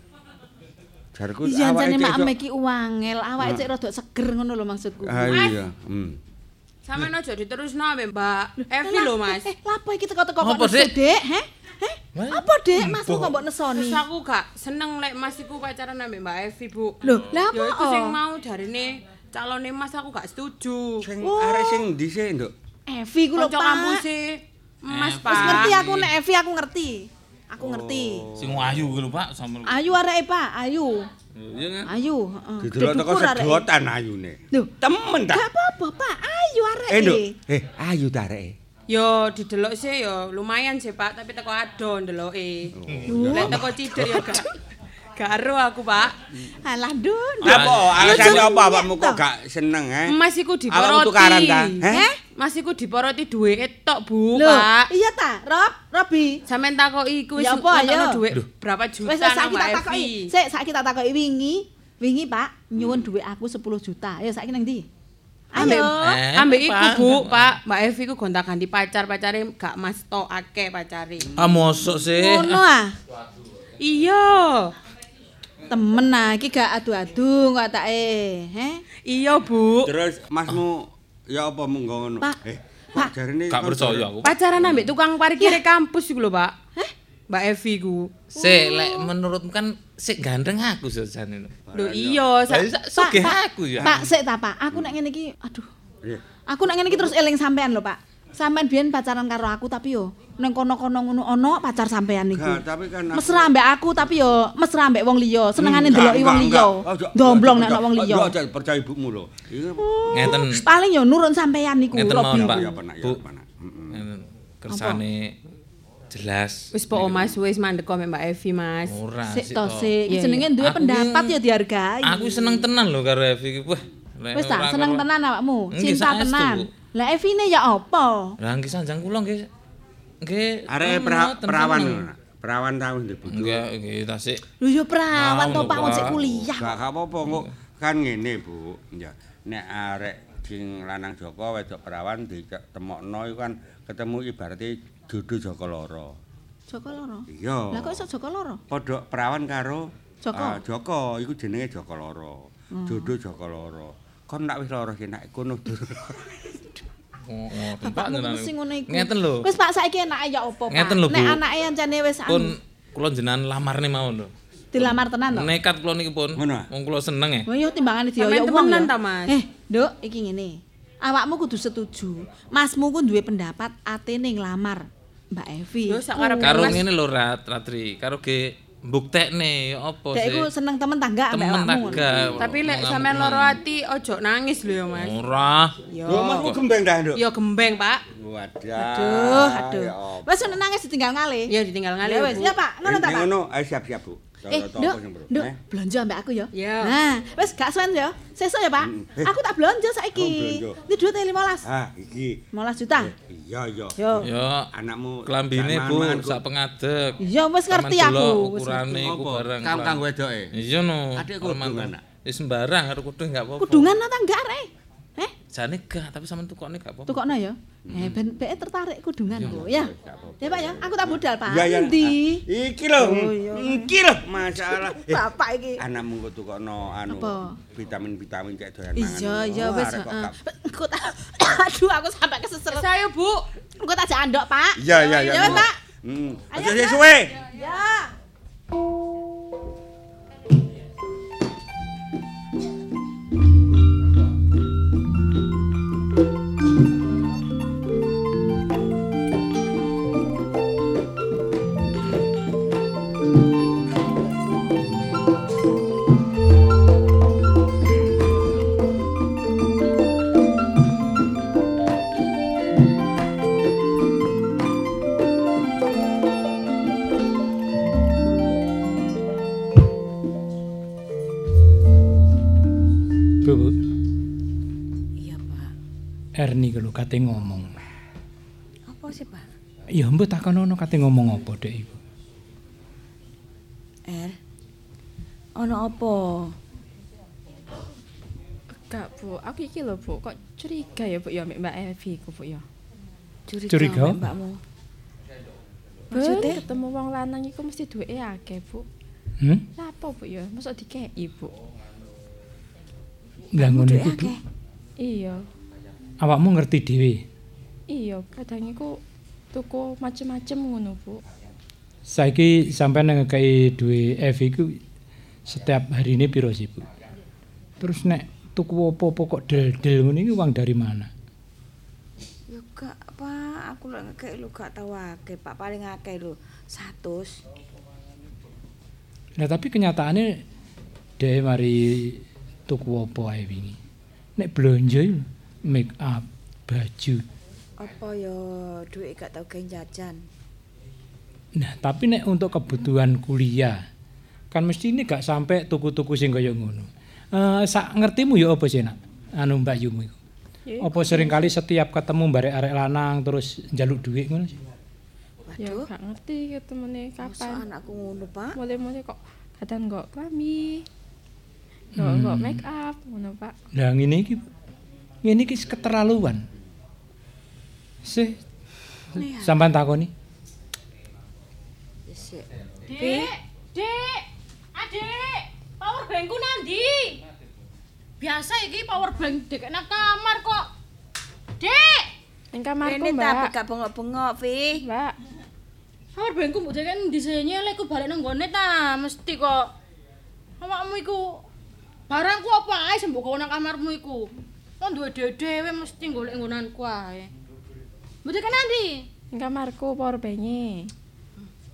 Speaker 5: jarku
Speaker 3: Iya jane
Speaker 5: cek
Speaker 3: makme
Speaker 5: esok-
Speaker 3: iki uangel,
Speaker 9: Ah.
Speaker 3: awake
Speaker 5: Nah.
Speaker 3: cek rada seger ngono lho maksudku.
Speaker 5: ah iya hmm.
Speaker 11: Sampe aja diterusno ambek Mbak Evi lho, Mas.
Speaker 3: Eh, lapo iki teko-teko kok
Speaker 11: Apa,
Speaker 3: nesu,
Speaker 11: Dek?
Speaker 3: Dek? Heh? Heh? Apa, Dek? Mas kok mbok nesoni?
Speaker 11: Terus aku gak seneng lek Mas iku pacaran ambek Mbak Evi, Bu.
Speaker 3: Loh, lah
Speaker 11: Ya iku
Speaker 3: apa?
Speaker 11: sing mau darine calone Mas aku gak setuju.
Speaker 5: Sing arek sing ndi sih nduk
Speaker 3: Oh, Evi ku lho,
Speaker 11: Kanca
Speaker 3: Pak.
Speaker 11: kampus e. Mas,
Speaker 3: Wis
Speaker 11: Pak.
Speaker 3: Eh, ngerti aku nek Evi aku ngerti. Aku ngerti.
Speaker 9: Sing ayu ku lho Pak sampe.
Speaker 3: Ayu areke, Pak, ayu.
Speaker 9: Iya kan?
Speaker 3: Ayu, heeh.
Speaker 5: Didelok teko
Speaker 3: Didukur areke.
Speaker 5: sedotan ayune. Temen ta?
Speaker 3: Gak apa-apa, Pak. Ayu areke.
Speaker 5: Eh, Nduk. Eh, ayu ta areke.
Speaker 11: Yo didelok sih yo lumayan sih Pak, tapi teko ado ndeloke.
Speaker 5: Oh.
Speaker 11: Lek teko cidik yo gak gak ero aku, Pak.
Speaker 3: Alah, Dun.
Speaker 5: Apa alasane
Speaker 11: Yo,
Speaker 5: apa awakmu kok gak seneng eh?
Speaker 11: Mas iku
Speaker 5: Awakmu
Speaker 11: diporoti.
Speaker 5: tukaran ta? Eh?
Speaker 11: Heh? Mas iku diporoti duweke tok, Bu,
Speaker 3: Loh,
Speaker 11: Pak.
Speaker 3: Iya ta, Rob, Robi.
Speaker 11: Sampeyan takoki iku wis
Speaker 3: Ya apa,
Speaker 11: ngetokno
Speaker 3: ayo.
Speaker 11: duit berapa juta
Speaker 3: Wis saiki
Speaker 11: nang
Speaker 3: tak
Speaker 11: Mbak
Speaker 3: takoki.
Speaker 11: Evi.
Speaker 3: Sik, saiki tak takoki wingi. Wingi, Pak, nyuwun dhuwit aku 10 juta. Ayo saiki nang ndi?
Speaker 11: Ambek
Speaker 3: Eh,
Speaker 11: ambek iku,
Speaker 3: Pak.
Speaker 11: Bu, Pak. Mbak Evi iku gonta-ganti pacar, pacare gak mas tok akeh pacare.
Speaker 9: Ah mosok sih. Eh.
Speaker 3: Ngono ah.
Speaker 11: Iya.
Speaker 3: Temen ah, iki gak adu-adu kok tak eh. Heh.
Speaker 11: Iya, Bu.
Speaker 5: Terus masmu ya apa mung ngono?
Speaker 11: Pak,
Speaker 5: Eh, Pak jarene
Speaker 9: Gak percaya aku.
Speaker 11: Pacaran ambek tukang parkir
Speaker 3: Iya.
Speaker 11: kampus iku lho, Pak. Mbak Evi iku.
Speaker 9: Sik lek menurutmu kan sik gandeng aku sejane lho.
Speaker 11: Lho iya, sa-
Speaker 9: Lah,
Speaker 11: sa-
Speaker 9: sugih
Speaker 3: Pak,
Speaker 9: aku ya. Iya.
Speaker 3: Pak, sik ta, Pak. Aku nek ngene iki, aduh. Aku nek ngene iki terus eling sampean lho, Pak. Sampean biyen pacaran karo aku tapi yo nang kono-kono ngono ono pacar sampean niku.
Speaker 5: Gak, tapi kan aku-
Speaker 3: mesra mbek aku tapi yo mesra mbek wong liya,
Speaker 9: Hmm,
Speaker 3: senengane
Speaker 5: Enggak,
Speaker 3: ndeloki wong
Speaker 5: Hmm, enggak,
Speaker 3: liya.
Speaker 5: enggak. Ojo-
Speaker 3: Domblong
Speaker 5: ojo-
Speaker 3: nek ana wong liya.
Speaker 5: ojo- ojo percaya ibumu lho. Iya.
Speaker 9: Ngeten.
Speaker 3: Paling yo nurun sampean niku,
Speaker 9: Ngeten mawon,
Speaker 3: Robi.
Speaker 9: Pak.
Speaker 5: Ya, penak, ya,
Speaker 9: Bu.
Speaker 5: penak.
Speaker 9: Ngeten. Kersane jelas.
Speaker 11: Wis pokok Mas wis mandek ambek Mbak Evi, Mas. Iya,
Speaker 9: Ora
Speaker 3: Sik to sik, iki jenenge duwe pendapat ya dihargai.
Speaker 1: iya.
Speaker 9: Aku seneng tenan lho karo Evi iki. Wah. lek
Speaker 3: Wis ta,
Speaker 9: ora
Speaker 3: seneng
Speaker 9: karo-
Speaker 3: tenan awakmu,
Speaker 9: Nggih,
Speaker 3: cinta
Speaker 9: saestu, Bu.
Speaker 3: tenan. Lah Evine ya apa?
Speaker 9: Lah nggih sanjang kula nggih. Nggih. tenan,
Speaker 5: Arek pra-
Speaker 9: tenan.
Speaker 5: perawan lho, nak. perawan tahu ndek butuh.
Speaker 9: Nggih, nggih ta sik.
Speaker 3: Lho yo perawan
Speaker 9: Nah,
Speaker 5: Tahu
Speaker 3: to
Speaker 5: lho,
Speaker 3: Pak, wong sik
Speaker 5: Pak.
Speaker 3: kuliah.
Speaker 5: Gak gak apa-apa kok kan ngene, Bu. Ya, nek arek sing lanang Joko wedok perawan ditemokno iku kan ketemu ibarate jodoh Joko loro.
Speaker 3: Joko loro.
Speaker 5: Iya.
Speaker 3: Lah kok iso Joko loro?
Speaker 5: Padha perawan karo
Speaker 3: Joko.
Speaker 5: ah, Joko iku jenenge Joko loro.
Speaker 3: Hmm.
Speaker 5: Jodoh Joko loro. Kon nak wis loro ki nak kono durung.
Speaker 9: Oh,
Speaker 3: Bapakmu ngono sing ngono iku.
Speaker 9: Ngeten lho.
Speaker 3: Wis Pak saiki enake ya opo Pak?
Speaker 9: Ngeten lho,
Speaker 3: Nek
Speaker 9: Bu.
Speaker 3: anake ancane wis
Speaker 9: Pun
Speaker 3: anu,
Speaker 9: kula jenengan lamarne mawon lho.
Speaker 3: dilamar tenan to.
Speaker 9: Nekat kula niki pun. Wong kula seneng eh.
Speaker 3: Wah yo timbangane dioyok
Speaker 11: Sampean
Speaker 3: wong.
Speaker 11: temenan
Speaker 3: yo.
Speaker 11: ta, Mas?
Speaker 3: Eh, Nduk, iki ngene. Awakmu kudu setuju. Masmu ku duwe pendapat atene nglamar Mbak Evi.
Speaker 11: Yo, sak karepe
Speaker 9: Karo ngene lho Rat, Ratri. Karo ge mbuktekne ya apa
Speaker 3: Dek iku
Speaker 9: sih.
Speaker 3: seneng temen tangga ambek
Speaker 9: Temen
Speaker 3: awakmu.
Speaker 9: tangga.
Speaker 11: Tapi lek
Speaker 9: Ngamuk
Speaker 11: sampean loro ati ojo nangis lho ya, Mas.
Speaker 9: Ora.
Speaker 11: Yo.
Speaker 5: Lho, Mas, kok gembeng dah, Nduk?
Speaker 11: Yo gembeng, Pak.
Speaker 5: Waduh.
Speaker 11: Aduh, aduh.
Speaker 5: Ya Allah.
Speaker 3: Wis nangis ditinggal ngale.
Speaker 11: Ya ditinggal ngale.
Speaker 3: Ya wis, ya Pak, ngono ta
Speaker 5: Ini
Speaker 3: Pak.
Speaker 5: Ngono, ayo siap-siap, Bu.
Speaker 3: Eh,
Speaker 5: Tau- tau
Speaker 3: Nduk,
Speaker 5: apa sing perlu?
Speaker 3: Nduk,
Speaker 5: Eh?
Speaker 3: blonjo ambek aku ya.
Speaker 11: Ya.
Speaker 3: Nah, wis gak suwen ya. Sesuk ya, Pak.
Speaker 5: Eh.
Speaker 3: Aku tak blonjo saiki.
Speaker 5: Oh, blonjo.
Speaker 3: Ini duit 15.
Speaker 5: Ah, iki.
Speaker 3: 15 juta.
Speaker 5: Iya, iya.
Speaker 3: Yo.
Speaker 9: Ya,
Speaker 5: anakmu
Speaker 9: klambine
Speaker 5: jangan
Speaker 9: Bu
Speaker 5: mangan,
Speaker 9: sak pengadeg.
Speaker 3: Iya, wis ngerti
Speaker 9: Sampean
Speaker 3: aku,
Speaker 9: delok
Speaker 3: wis
Speaker 9: Ukurane
Speaker 3: ngerti.
Speaker 9: iku
Speaker 3: Apa?
Speaker 9: barang.
Speaker 5: Kang- kang
Speaker 9: wedoke. Iya no.
Speaker 5: Adik kudung,
Speaker 9: Permangan.
Speaker 5: anak.
Speaker 9: Ya sembarang karo kudung enggak apa-apa.
Speaker 3: Kudungan apa enggak, Rek?
Speaker 9: Jane gak, tapi sampean tukokne gak apa-apa.
Speaker 3: Tukokno ya.
Speaker 5: Hmm.
Speaker 3: Eh, ben beke tertarik kudungan kok, ya. Ya, Pak ya. Aku tak budal, Pak.
Speaker 5: Ya, ya.
Speaker 3: Endi?
Speaker 5: Iki lho.
Speaker 3: Oh, iya.
Speaker 5: Iki lho masalah. Eh,
Speaker 3: Bapak iki.
Speaker 5: Anakmu kok tukokno anu
Speaker 3: Apa?
Speaker 5: vitamin-vitamin cek doyan mangan.
Speaker 3: Iya,
Speaker 5: ngono.
Speaker 3: iya
Speaker 5: Oh,
Speaker 3: wis.
Speaker 5: arek kok
Speaker 3: heeh.
Speaker 5: gak-
Speaker 3: Engko tak Aduh, aku sampai kesesel. Saya, Bu. Engko tak jak andok, Pak.
Speaker 5: Iya, iya, iya.
Speaker 3: Ya wis, Pak.
Speaker 5: Heeh. Aja sih Hmm. suwe.
Speaker 3: Ya.
Speaker 8: Bu. Iya, Pak. Erni kalau kate ngomong.
Speaker 7: Apa sih, Pak?
Speaker 8: Ya mbok takonono kate ngomong apa Dek Ibu?
Speaker 7: Er. Ono apa?
Speaker 12: Gak, Bu. Aku iki lho, Bu. Kok curiga ya, Bu, ya ambek Mbak Evi ku, Bu, ya.
Speaker 7: Curiga,
Speaker 8: Curiga?
Speaker 7: ambek Mbakmu.
Speaker 12: Maksudnya ketemu wong lanang iku mesti duweke akeh, Bu.
Speaker 8: Hmm?
Speaker 12: Lah apa, Bu, ya? Mosok dikeki, Bu.
Speaker 8: Lah ngono iku Bu.
Speaker 12: Iya.
Speaker 8: Awakmu ngerti dhewe.
Speaker 12: Iya, kadang iku tuku macem-macem ngono, Bu.
Speaker 8: Saiki sampean ngekei duwe F iku setiap harine piro sih Bu? Terus nek tuku apa-apa kok del-del ngene iki uang dari mana?
Speaker 7: Yo gak, Pak. Aku lek ngekek lu gak tau akeh, Pak. Paling akeh lu 100.
Speaker 8: Nah tapi kenyataannya dia mari tuku apa ae wingi. Nek blonjo ya, make up, baju.
Speaker 7: Apa yo duit gak tau gawe jajan.
Speaker 8: Nah tapi nek untuk kebutuhan kuliah kan mesti ini gak sampai tuku-tuku sing kaya ngono. Eh sak ngertimu ya apa sih nak? Anu Mbak Yumu iku.
Speaker 12: Ya,
Speaker 8: Apa seringkali setiap ketemu barek arek lanang terus njaluk duit ngono sih?
Speaker 12: Ya gak ngerti ketemune
Speaker 7: Masa
Speaker 12: kapan.
Speaker 7: anakku ngono, Pak?
Speaker 12: Mulai-mulai kok kadang kok klambi. Kok kok
Speaker 8: Hmm.
Speaker 12: make up ngono, Pak.
Speaker 8: Nah ngene iki ngene iki keterlaluan. Sih
Speaker 7: Nih,
Speaker 8: sampean takoni.
Speaker 7: Sik.
Speaker 1: Dik, Dik, Adik, power bankku nandi? Biasa iki power bank dek nang kamar kok. Dik,
Speaker 12: Ning kamarku,
Speaker 7: Rene tak
Speaker 12: Mbak.
Speaker 7: buka bengok-bengok, Vi.
Speaker 12: Mbak.
Speaker 1: power bankku mbok dek endi sene lek ku balik nang gone ta, mesti kok. Awakmu iku barangku apa ae sing mbok gawe nang kamarmu iku. Kok duwe dhewe mesti golek nggonanku ae. Mbok dek nandi?
Speaker 12: Ning kamarku power bank-e.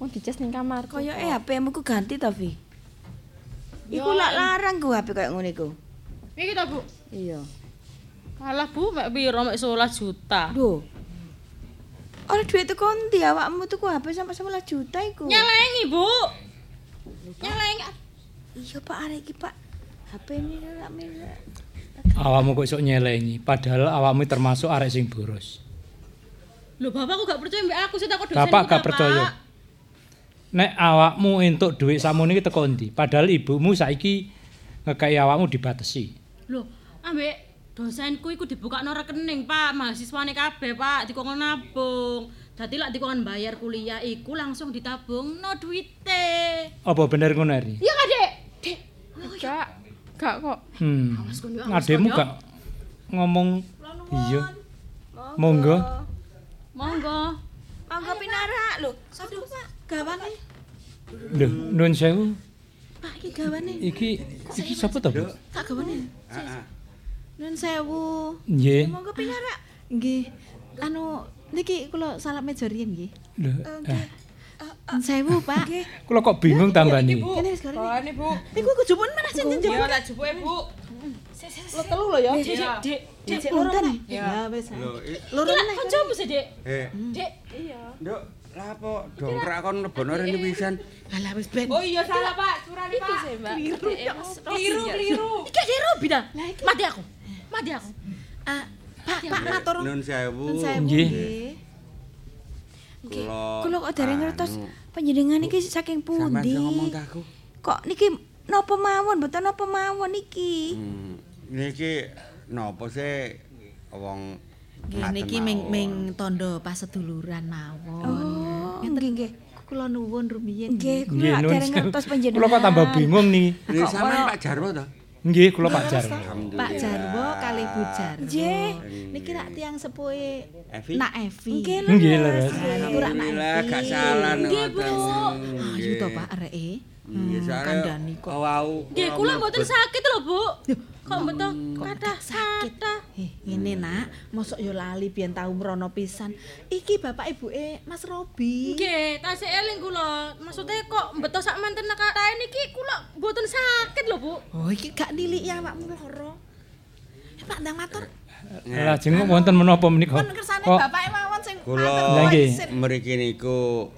Speaker 12: Wong dicas ning kamarku.
Speaker 7: Koyoke
Speaker 12: kok.
Speaker 7: HP-mu ku ganti to, Vi? Iku
Speaker 12: Yo.
Speaker 7: lak larang ku HP koyo ngene iku.
Speaker 1: Iki ta, Bu.
Speaker 7: Iya.
Speaker 1: Alah Bu, mek piro mek 11 juta.
Speaker 7: Lho. Ora duit tuku kondi awakmu tuku HP sampe 11 juta iku.
Speaker 1: Nyelengi, Bu. Nyelengi.
Speaker 7: Iya, Pak, arek iki, Pak. HP ini lak merah.
Speaker 8: Awakmu kok sok nyelengi, padahal awakmu termasuk arek sing boros.
Speaker 1: Lho, Bapak kok gak percaya mbek aku sih takut dosen.
Speaker 8: Bapak
Speaker 1: ku,
Speaker 8: gak percaya. Nek awakmu entuk dhuwit sakmono iki teko ndi? Padahal ibumu saiki ngekeki awakmu dibatasi.
Speaker 1: Lho, ambek dosenku iku dibukakno rekening, Pak. Mahasiswane kabeh, Pak, dikongkon nabung. Dadi lak dikongkon bayar kuliah iku langsung ditabungno duwite.
Speaker 8: Apa bener ngono Erni?
Speaker 1: Iya kan, Dek? Dek. Oh,
Speaker 12: Gak, gak kok.
Speaker 8: Hmm.
Speaker 12: Awas kon yo, awas
Speaker 8: Ademu
Speaker 12: kon yo.
Speaker 8: gak ngomong iya. Monggo.
Speaker 1: Monggo.
Speaker 7: Monggo pinarak lho. Satu, Pak. Gawane.
Speaker 8: Lho, nuwun sewu.
Speaker 7: Pak, iki gawane.
Speaker 8: Iki iki sapa to, Bu?
Speaker 7: Tak gawane.
Speaker 3: Nun sewu.
Speaker 8: Nggih.
Speaker 3: Monggo pinarak. Nggih. Anu niki kula salap meja riyen nggih.
Speaker 8: Lho, eh,
Speaker 3: Nun sewu, Pak. Nggih.
Speaker 8: kula kok bingung tambani.
Speaker 3: Kene wis kare. Bawane, Bu. Iku iku jupun mana sing njupuk?
Speaker 11: Iya, tak jupuke, Bu.
Speaker 3: Lo telu lho ya.
Speaker 1: Dik, Dik, Dik, Dik,
Speaker 3: Dik, loro
Speaker 1: punten.
Speaker 3: meneh. Ya wis.
Speaker 5: Lho, i-
Speaker 1: Lho, kancamu sih, Dek?
Speaker 5: eh.
Speaker 1: Dek. Iya.
Speaker 5: Nduk, Lah apa dongkrak kon lebono rene pisan. Alah wis ben.
Speaker 11: Oh iya salah Pak, surani Pak.
Speaker 12: Keliru, ya Allah.
Speaker 11: Keliru, keliru.
Speaker 1: Iki keliru bida. Mati aku. Mati aku. Ah, Pak, Pak matur.
Speaker 5: Nun sewu.
Speaker 7: Nun sewu,
Speaker 1: Nggih.
Speaker 7: nggih.
Speaker 5: Kula
Speaker 7: Kulo kok dereng ngertos panjenengan iki saking pundi?
Speaker 5: ngomong ke aku.
Speaker 7: Kok niki napa mawon, mboten napa mawon iki?
Speaker 5: Hmm, Niki napa sih wong
Speaker 3: Ngene
Speaker 5: paten
Speaker 3: iki ming
Speaker 5: mawon.
Speaker 3: ming tondo paseduluran mawon.
Speaker 7: Oh, nggih nggih.
Speaker 3: Kula nuwun rumiyin.
Speaker 7: Nggih,
Speaker 8: Nggih, nun sewu. Kula kok tambah bingung niki.
Speaker 5: Niki sampean Pak Jarwo to?
Speaker 8: Nggih, kula Pak Jarwo.
Speaker 3: Pak Jarwo kali Bu Jarwo.
Speaker 7: Nggih.
Speaker 3: Niki rak tiyang sepuhe
Speaker 5: Evi?
Speaker 3: Nak Evi.
Speaker 7: Nggih,
Speaker 8: lho, Nggih, lho, Res.
Speaker 3: Niku rak Nak
Speaker 5: Alhamdulillah
Speaker 3: Evi.
Speaker 5: gak salah
Speaker 3: Nggih, Bu.
Speaker 5: Ayo
Speaker 3: Ayu to Pak reke.
Speaker 5: Nggih, soalnya
Speaker 3: kandhani
Speaker 5: wau.
Speaker 1: Nggih, kula mboten sakit lho, Bu. Kok mboten
Speaker 3: kathah sakit. Heh, ngene Nak, mosok yo lali biyen tau mrono pisan. Iki bapak ibuke Mas Robi.
Speaker 1: Nggih, tasih eling kula. Maksude kok mbeto sak manten kathah niki kula mboten sakit lho, Bu.
Speaker 3: Oh, iki gak niliki awakmu lara. Eh, Pak Ndang matur.
Speaker 8: Lah jeneng wonten menapa menika?
Speaker 3: Kon kersane
Speaker 8: Kok
Speaker 3: bapake mawon sing
Speaker 5: Kula
Speaker 8: Nggih.
Speaker 5: mriki niku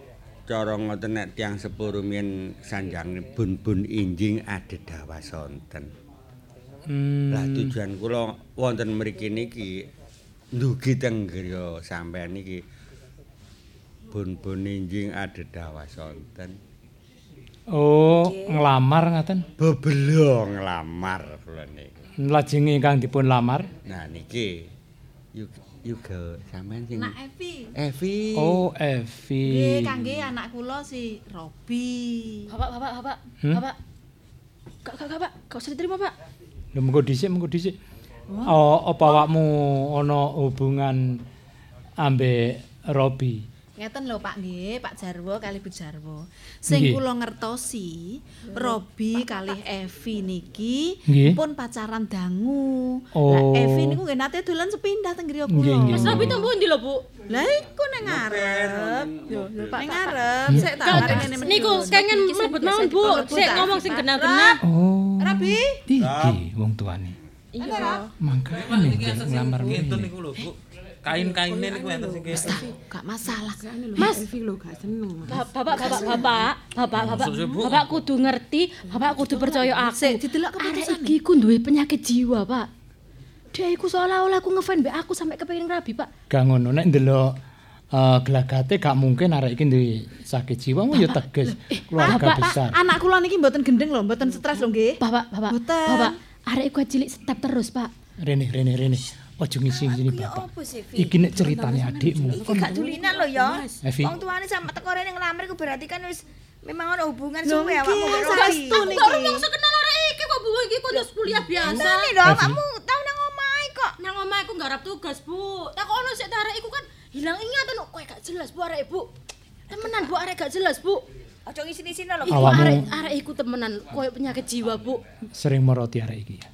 Speaker 5: cara ngoten nek tiyang sepuh rumiyin sanjange bun-bun injing adedawa sonten.
Speaker 8: Hmm.
Speaker 5: Lah tujuan kula wonten mriki niki ndugi teng griya sampean niki bun-bun injing adedawa sonten.
Speaker 8: Oh, nglamar ngaten.
Speaker 5: Bebelo nglamar kula niku.
Speaker 8: Lajeng ingkang dipun lamar.
Speaker 5: Nah niki juga sampean sing
Speaker 3: Nak Evi.
Speaker 5: Evi.
Speaker 8: Oh, Evi.
Speaker 3: Nggih, kangge anak kula si Robi.
Speaker 12: Bapak, bapak, bapak,
Speaker 8: Hmm?
Speaker 12: bapak. Kak, kak, kak, pak, kau usah diterima pak.
Speaker 8: Lho mengko dhisik, mengko dhisik. Oh, apa awakmu ana hubungan ambek Robi?
Speaker 3: Ngeten lho Pak nggih, Pak Jarwo kali Bu Jarwo. Sing
Speaker 8: Nggih.
Speaker 3: kula ngertosi,
Speaker 1: Hmm.
Speaker 3: Robi kalih Evi niki
Speaker 8: Nggih.
Speaker 3: pun pacaran dangu. Lah
Speaker 8: Oh.
Speaker 3: Evi niku nggih nate dolan sepindah teng griya kula.
Speaker 8: Nggih, nggih, Mas
Speaker 1: Robi teng pundi lho, Bu?
Speaker 3: Lah iku ning ngarep. Yo, lho Pak. Ning ngarep, sik tak
Speaker 1: Kak,
Speaker 3: arep ngene
Speaker 1: niku kengen mlebet mawon, Bu. Sik ngomong sing genah-genah.
Speaker 8: Oh.
Speaker 3: Robi.
Speaker 8: Iki wong tuane.
Speaker 3: Iya.
Speaker 8: Mangkane jan nglamar
Speaker 9: Ngeten
Speaker 8: ngene.
Speaker 9: niku lho, Bu. Kain-kaine niku enten sing kene.
Speaker 3: Gak masalah.
Speaker 1: Mas.
Speaker 11: Evi lho gak seneng. Mas.
Speaker 1: Ba- Bapak, bapak, bapak, bapak, bapak,
Speaker 11: Maksud saya, Bu?
Speaker 1: bapak kudu ngerti, bapak kudu percaya aku. Sik,
Speaker 3: didelok
Speaker 1: keputusane. iki ku duwe penyakit jiwa, Pak. Dia iku seolah-olah aku ngefan mbek aku sampai kepengin rabi, Pak.
Speaker 8: Gak ngono nek ndelok eh, gelagate gak mungkin arek iki duwe sakit jiwa mu ya tegas keluarga
Speaker 3: Bapak, ah,
Speaker 8: besar.
Speaker 3: anak kula niki mboten gendeng lho, mboten stres lho nggih.
Speaker 1: Bapak, bapak, bapak, arek iku cilik step terus, Pak.
Speaker 8: Rene, rene, rene. Ojo ngisi ngisi bapak.
Speaker 7: Apa sih, Fi?
Speaker 8: Iki nek ceritane adikmu.
Speaker 7: Iki gak dulinan lho ya.
Speaker 8: Evi.
Speaker 7: Wong tuane sama teko rene nglamar iku berarti kan wis memang ana hubungan
Speaker 3: Lho,
Speaker 7: suwe
Speaker 3: nggih,
Speaker 7: awakmu karo
Speaker 3: saestu
Speaker 7: Robi.
Speaker 3: niki. Aku baru
Speaker 1: mongso kenal arek iki kok Bu iki kok terus kuliah biasa.
Speaker 7: Nani lho
Speaker 1: Evi.
Speaker 7: awakmu tau nang omahe kok.
Speaker 1: Nang omah aku nggarap tugas, Bu. Takono sik ta arek iku kan hilang ingatan kok kowe gak jelas, Bu arek Bu. Temenan Bu arek gak jelas, Bu.
Speaker 7: Aja ngisi-ngisine lho.
Speaker 1: Iku
Speaker 8: Awakmu-
Speaker 1: arek arek iku temenan koyo penyakit jiwa, Bu.
Speaker 8: Sering meroti arek iki ya.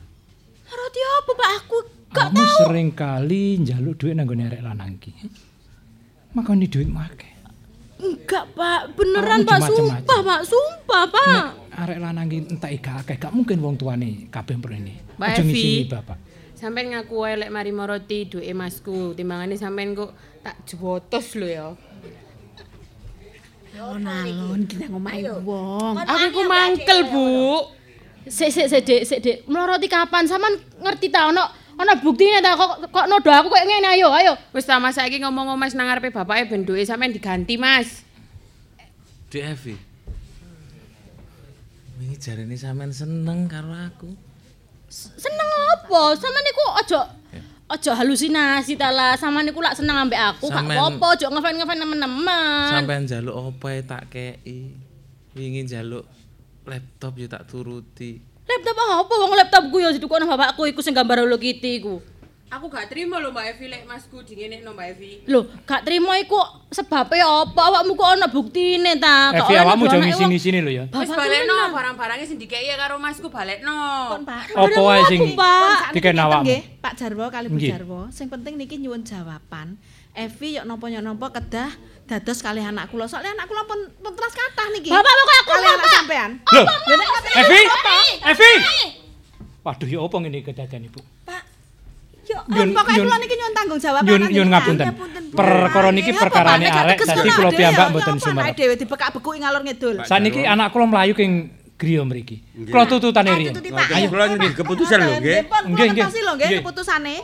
Speaker 1: Roti apa, Pak? Aku
Speaker 8: Kamu sering kali njaluk dhuwit nang gone arek lanang iki. Makane dhuwitmu akeh.
Speaker 1: enggak, Pak. Beneran,
Speaker 8: Kamu
Speaker 1: Pak.
Speaker 8: Oh, macem-macem.
Speaker 1: Sumpah, Pak. Sumpah, Pak.
Speaker 8: Arek lanang iki entek gak akeh, gak mungkin wong tuane kabeh mrene.
Speaker 11: Mbak
Speaker 8: Ojo
Speaker 11: Evi.
Speaker 8: ngisi bapak.
Speaker 11: Sampeyan ngaku wae lek mari maroti duwe masku, timbangane sampeyan kok tak jwotos lho ya.
Speaker 3: Alon-alon kita ngomahi wong.
Speaker 11: Aku iku mangkel, Bu.
Speaker 1: Sik sik sik Dik, sik Dik. Meloroti kapan? Sampean ngerti ta ono ono buktine ta kok kok nodo aku koyo ngene ayo ayo.
Speaker 11: Wis ta Mas saiki ngomong Mas nang ngarepe bapake ben duwe sampeyan diganti, Mas.
Speaker 9: Dek Evi. Wingi jarene sampean seneng karo aku.
Speaker 1: Seneng apa? Sampean niku ojo ojo halusinasi ta lah. Sampean niku lak seneng ambek aku, gak
Speaker 9: Sampean-
Speaker 1: apa-apa, ojo ngefan-ngefan teman-teman.
Speaker 9: Sampean njaluk apa ae tak kei. Wingi njaluk laptop yo tak turuti.
Speaker 1: Laptop apa? Wong laptopku yo ditukono bapakku iku sing gambar Hello Kitty iku.
Speaker 11: Aku gak trimo lho Mbak Evi lek masku dingenekno Mbak Evi.
Speaker 1: Loh, gak trimo iku sebabe apa? Awakmu kok ono buktine ta? Kok
Speaker 8: Evi
Speaker 1: ono
Speaker 8: Eh, awakmu
Speaker 1: dua
Speaker 8: aja
Speaker 1: anake wong-
Speaker 8: ngisi-ngisine lho ya.
Speaker 11: Wis
Speaker 1: Bapak
Speaker 11: balekno barang-barangnya sing dikei ya karo Masku balekno. Kon
Speaker 3: Pak.
Speaker 8: Apa wae sing diken
Speaker 3: Ngeten
Speaker 8: awakmu?
Speaker 3: nggih, Pak Jarwo kali Bu
Speaker 8: Nggih.
Speaker 3: Jarwo. Sing penting niki nyuwun jawaban. Evi yo napa yo napa kedah dados kalih anak kula. Soalnya anak kula pun pun teras kathah niki.
Speaker 1: Bapak, pokoknya aku,
Speaker 3: Kalih anak
Speaker 1: Bapak. Oh.
Speaker 3: sampean.
Speaker 8: Loh,
Speaker 3: Lho, nek kate-
Speaker 8: Evi, Evi. Waduh, ya opo ngene kedadean Ibu?
Speaker 7: Yo
Speaker 3: Om,
Speaker 8: Nyun-
Speaker 3: pokoknya
Speaker 8: nyun-
Speaker 3: kula niki nyuwun tanggung jawab
Speaker 8: Nyun nyun ngapunten. Perkara niki perkarane arek dadi kula piyambak mboten
Speaker 3: sumerep.
Speaker 8: sumerep.
Speaker 3: Dhewe dibekak-bekuki ngalor ngidul.
Speaker 8: Saniki anak kula mlayu king griya mriki. Kula tututane riyen.
Speaker 9: Ayo kula nyuwun keputusan lho nggih.
Speaker 8: Nggih,
Speaker 3: nggih
Speaker 8: nggih.
Speaker 3: nggih. lho nggih
Speaker 8: Nggih.
Speaker 3: keputusane.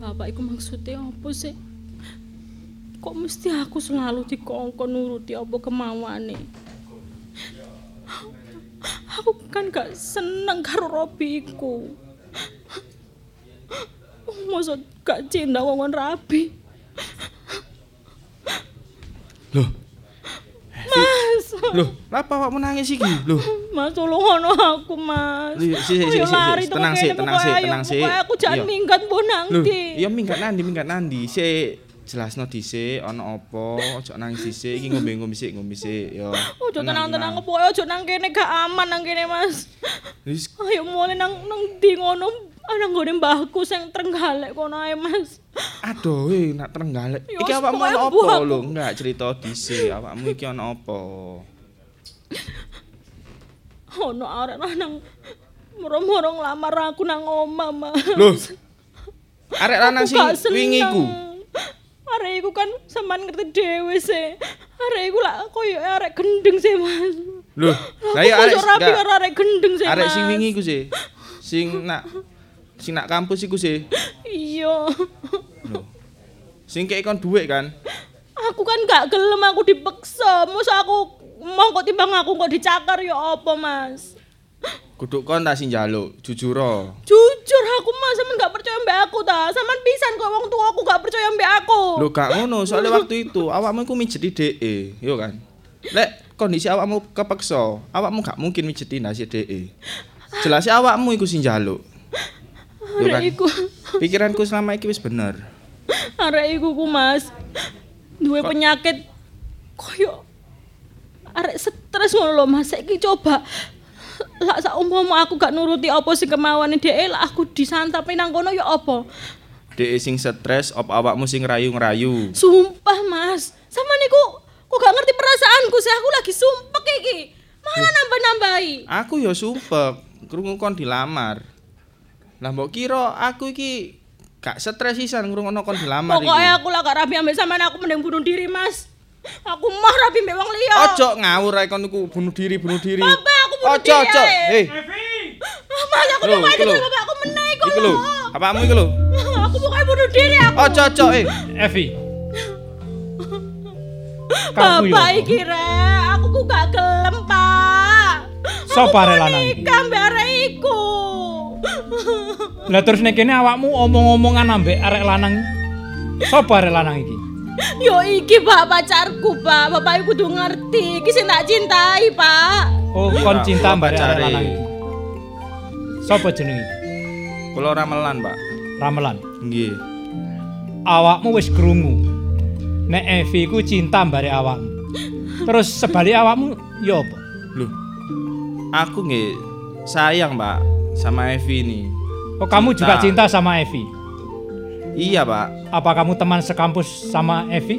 Speaker 1: Bapak iku maksude apa sih? Kok mesti aku selalu dikongkon nuruti apa kemauane? Aku kan gak seneng karo Robi iku. Masa gak cinta wongon Rabi? Mas.
Speaker 10: Loh, apa awakmu nangis iki? Loh,
Speaker 1: Mas tolong ono aku, Mas.
Speaker 10: Iya, sik, sik,
Speaker 1: Ayo
Speaker 10: sik, sik,
Speaker 1: lari
Speaker 10: sik.
Speaker 1: tuh
Speaker 10: Tenang, sik,
Speaker 1: kene,
Speaker 10: tenang, sik,
Speaker 1: pokoknya ayo,
Speaker 10: tenang, sik.
Speaker 1: pokoknya aku jangan
Speaker 10: Iya.
Speaker 1: minggat mbok
Speaker 10: Loh,
Speaker 1: nanti.
Speaker 10: ya minggat nandi, minggat nandi. Sik, jelasno dhisik ana apa, ojo nangis dhisik, iki ngombe-ngombe sik, ngombe sik ya.
Speaker 1: Ojo tenang-tenang pokoknya ojo nang kene gak aman nang kene Mas.
Speaker 10: Wis.
Speaker 1: Ayo mulai nang nang di ngono ana nggone mbahku sing Trenggalek kono ae Mas.
Speaker 10: Aduh, weh, nak terenggalek.
Speaker 1: Ya,
Speaker 10: Iki awakmu
Speaker 1: pokoknya
Speaker 10: ana
Speaker 1: mbuh
Speaker 10: apa
Speaker 1: aku.
Speaker 10: lho? Enggak cerita dhisik, awakmu iki ana apa?
Speaker 1: Ono arek lanang moro-moro nglamar aku nang omah Mas.
Speaker 10: Loh. Arek lanang
Speaker 1: Aku
Speaker 10: sing
Speaker 1: gak seneng.
Speaker 10: wingi iku.
Speaker 1: Arek iku kan sampean ngerti dhewe sih. Arek iku lak koyo arek gendeng sih Mas.
Speaker 10: Loh, lah
Speaker 1: Lah
Speaker 10: ya arek
Speaker 1: arek rapi
Speaker 10: enggak.
Speaker 1: karo arek gendeng sih
Speaker 10: Arek
Speaker 1: Mas.
Speaker 10: sing wingi iku sih. Sing nak sing nak kampus iku sih.
Speaker 1: Iya.
Speaker 10: Sing kek kon dhuwit kan.
Speaker 1: Aku kan gak gelem aku dipeksa. Masa aku mau kok timbang aku kok dicakar ya apa, Mas?
Speaker 10: Kudu kon tak sing njaluk, jujur ro.
Speaker 1: Jujur aku Mas, sampean gak percaya mbak aku ta. Sampean pisan kok wong tua aku gak percaya mbak aku.
Speaker 10: Lho gak ngono, soalnya waktu itu awakmu iku mijeti dheke, yo kan. Lek kondisi awakmu kepeksa, awakmu gak mungkin mijeti nasi dheke. Jelasnya e. awakmu iku sing njaluk. Yo
Speaker 1: Arek
Speaker 10: kan.
Speaker 1: iku,
Speaker 10: Pikiranku selama iki wis bener.
Speaker 1: arek iku ku Mas. Duwe penyakit koyo arek stres ngono lho Mas. Saiki coba lak sak umpama aku gak nuruti apa sing kemauane dhek, lak aku disantapi nang kono ya apa?
Speaker 10: Dheke e sing stres op awakmu sing rayu-rayu.
Speaker 1: Sumpah mas, sama niku kok gak ngerti perasaanku sih aku lagi sumpek iki. Malah nambah-nambahi.
Speaker 10: Aku ya sumpek, krungu kon dilamar. Lah mbok kira aku iki gak stres sisan ngrungokno kon dilamar iki.
Speaker 1: Pokoknya aku lah gak rabi ambil sampean aku mending bunuh diri mas. Aku mah rabi mbek wong liya.
Speaker 10: Ojo ngawur ae kon iku bunuh diri, bunuh diri.
Speaker 1: Bapak, aku bunuh
Speaker 10: Ojo,
Speaker 1: diri
Speaker 10: ojo.
Speaker 1: ae.
Speaker 10: Hei,
Speaker 1: Ah, Mas aku
Speaker 10: Lho,
Speaker 1: mau mati
Speaker 10: iku lho.
Speaker 1: sama bapakku meneh iku
Speaker 10: iku lho.
Speaker 1: lho.
Speaker 10: Apamu iku lho?
Speaker 1: Aku pokoknya bunuh diri aku.
Speaker 10: Ojo, ojo. Eh,
Speaker 8: Evi. Kamu ya
Speaker 1: Bapak
Speaker 8: apa?
Speaker 1: iki rek, aku ku gak gelem, Pak.
Speaker 8: Sapa arek lanang iki?
Speaker 1: Nikah mbek arek iku.
Speaker 8: Lah terus nek kene awakmu omong-omongan ambek arek lanang. Sapa arek lanang iki?
Speaker 1: Yo iki Pak pacarku, Pak. Bapak iku kudu ngerti. Iki sing tak cintai, Pak.
Speaker 8: Oh, kon
Speaker 10: Iya,
Speaker 8: cinta
Speaker 10: kula
Speaker 8: mbak arek
Speaker 10: pacare.
Speaker 8: lanang iki. Sapa jenenge?
Speaker 10: Kula ramelan, Pak.
Speaker 8: Ramelan.
Speaker 10: Nggih.
Speaker 8: Awakmu wis krungu. Nek Evi ku cinta mbak arek awakmu. Terus sebalik awakmu ya apa?
Speaker 10: Lho. Aku nggih sayang, Pak, sama Evi ini.
Speaker 8: Oh, kamu juga cinta sama Evi.
Speaker 10: Iya, Pak.
Speaker 8: Apa kamu teman sekampus sama Evi?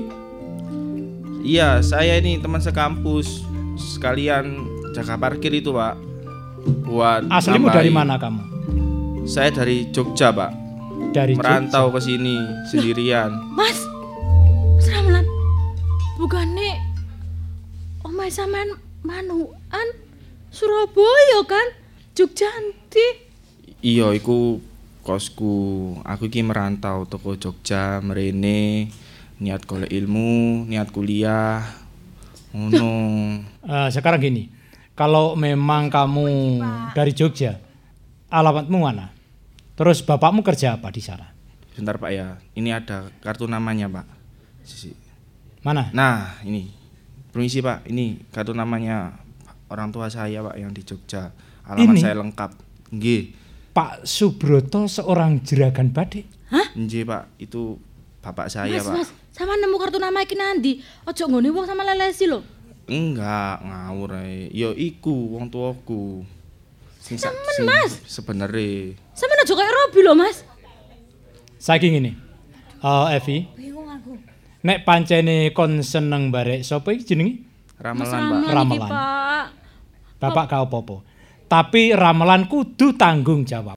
Speaker 10: Iya, saya ini teman sekampus. Sekalian jaga parkir itu, Pak. Buat
Speaker 8: Aslimu
Speaker 10: nambahi.
Speaker 8: dari mana kamu?
Speaker 10: Saya dari Jogja, Pak.
Speaker 8: Dari
Speaker 10: merantau ke sini sendirian.
Speaker 1: Mas. Mas Ramlan. Bugane omahe sampean manuan Surabaya kan? Jogjanti.
Speaker 10: Iya, iku kosku. Aku iki merantau toko Jogja, merene niat golek ilmu, niat kuliah. Ngono.
Speaker 8: Eh, sekarang gini, kalau memang kamu dari Jogja, alamatmu mana? Terus bapakmu kerja apa di sana?
Speaker 10: Bentar Pak ya. Ini ada kartu namanya Pak. Sisi.
Speaker 8: Mana?
Speaker 10: Nah, ini. Permisi Pak, ini kartu namanya orang tua saya Pak yang di Jogja. Alamat
Speaker 8: Ini?
Speaker 10: saya lengkap. Nggih.
Speaker 8: Pak Subroto seorang jeragan badik.
Speaker 10: Nggih Pak, itu bapak saya
Speaker 1: mas,
Speaker 10: Ah, Pak.
Speaker 1: mas, sama nemu kartu nama iki nandi. Ojo nggone wong sama lelesi lho.
Speaker 10: Enggak, ngawur ae. Ya iku wong tuaku. Sing sa-
Speaker 1: Temen,
Speaker 10: sing
Speaker 1: Mas.
Speaker 10: Sebenere.
Speaker 1: Sama ojo kayak Robi lho, Mas.
Speaker 8: Saiki ngene. Eh Evi,
Speaker 1: Bingung aku.
Speaker 8: nek pancene kon seneng barek sapa iki jenenge?
Speaker 10: Ramelan,
Speaker 8: Pak.
Speaker 2: Ramelan iki,
Speaker 8: Ramelan.
Speaker 2: Pak.
Speaker 8: Bapak kau popo. Tapi ramelan kudu tanggung jawab.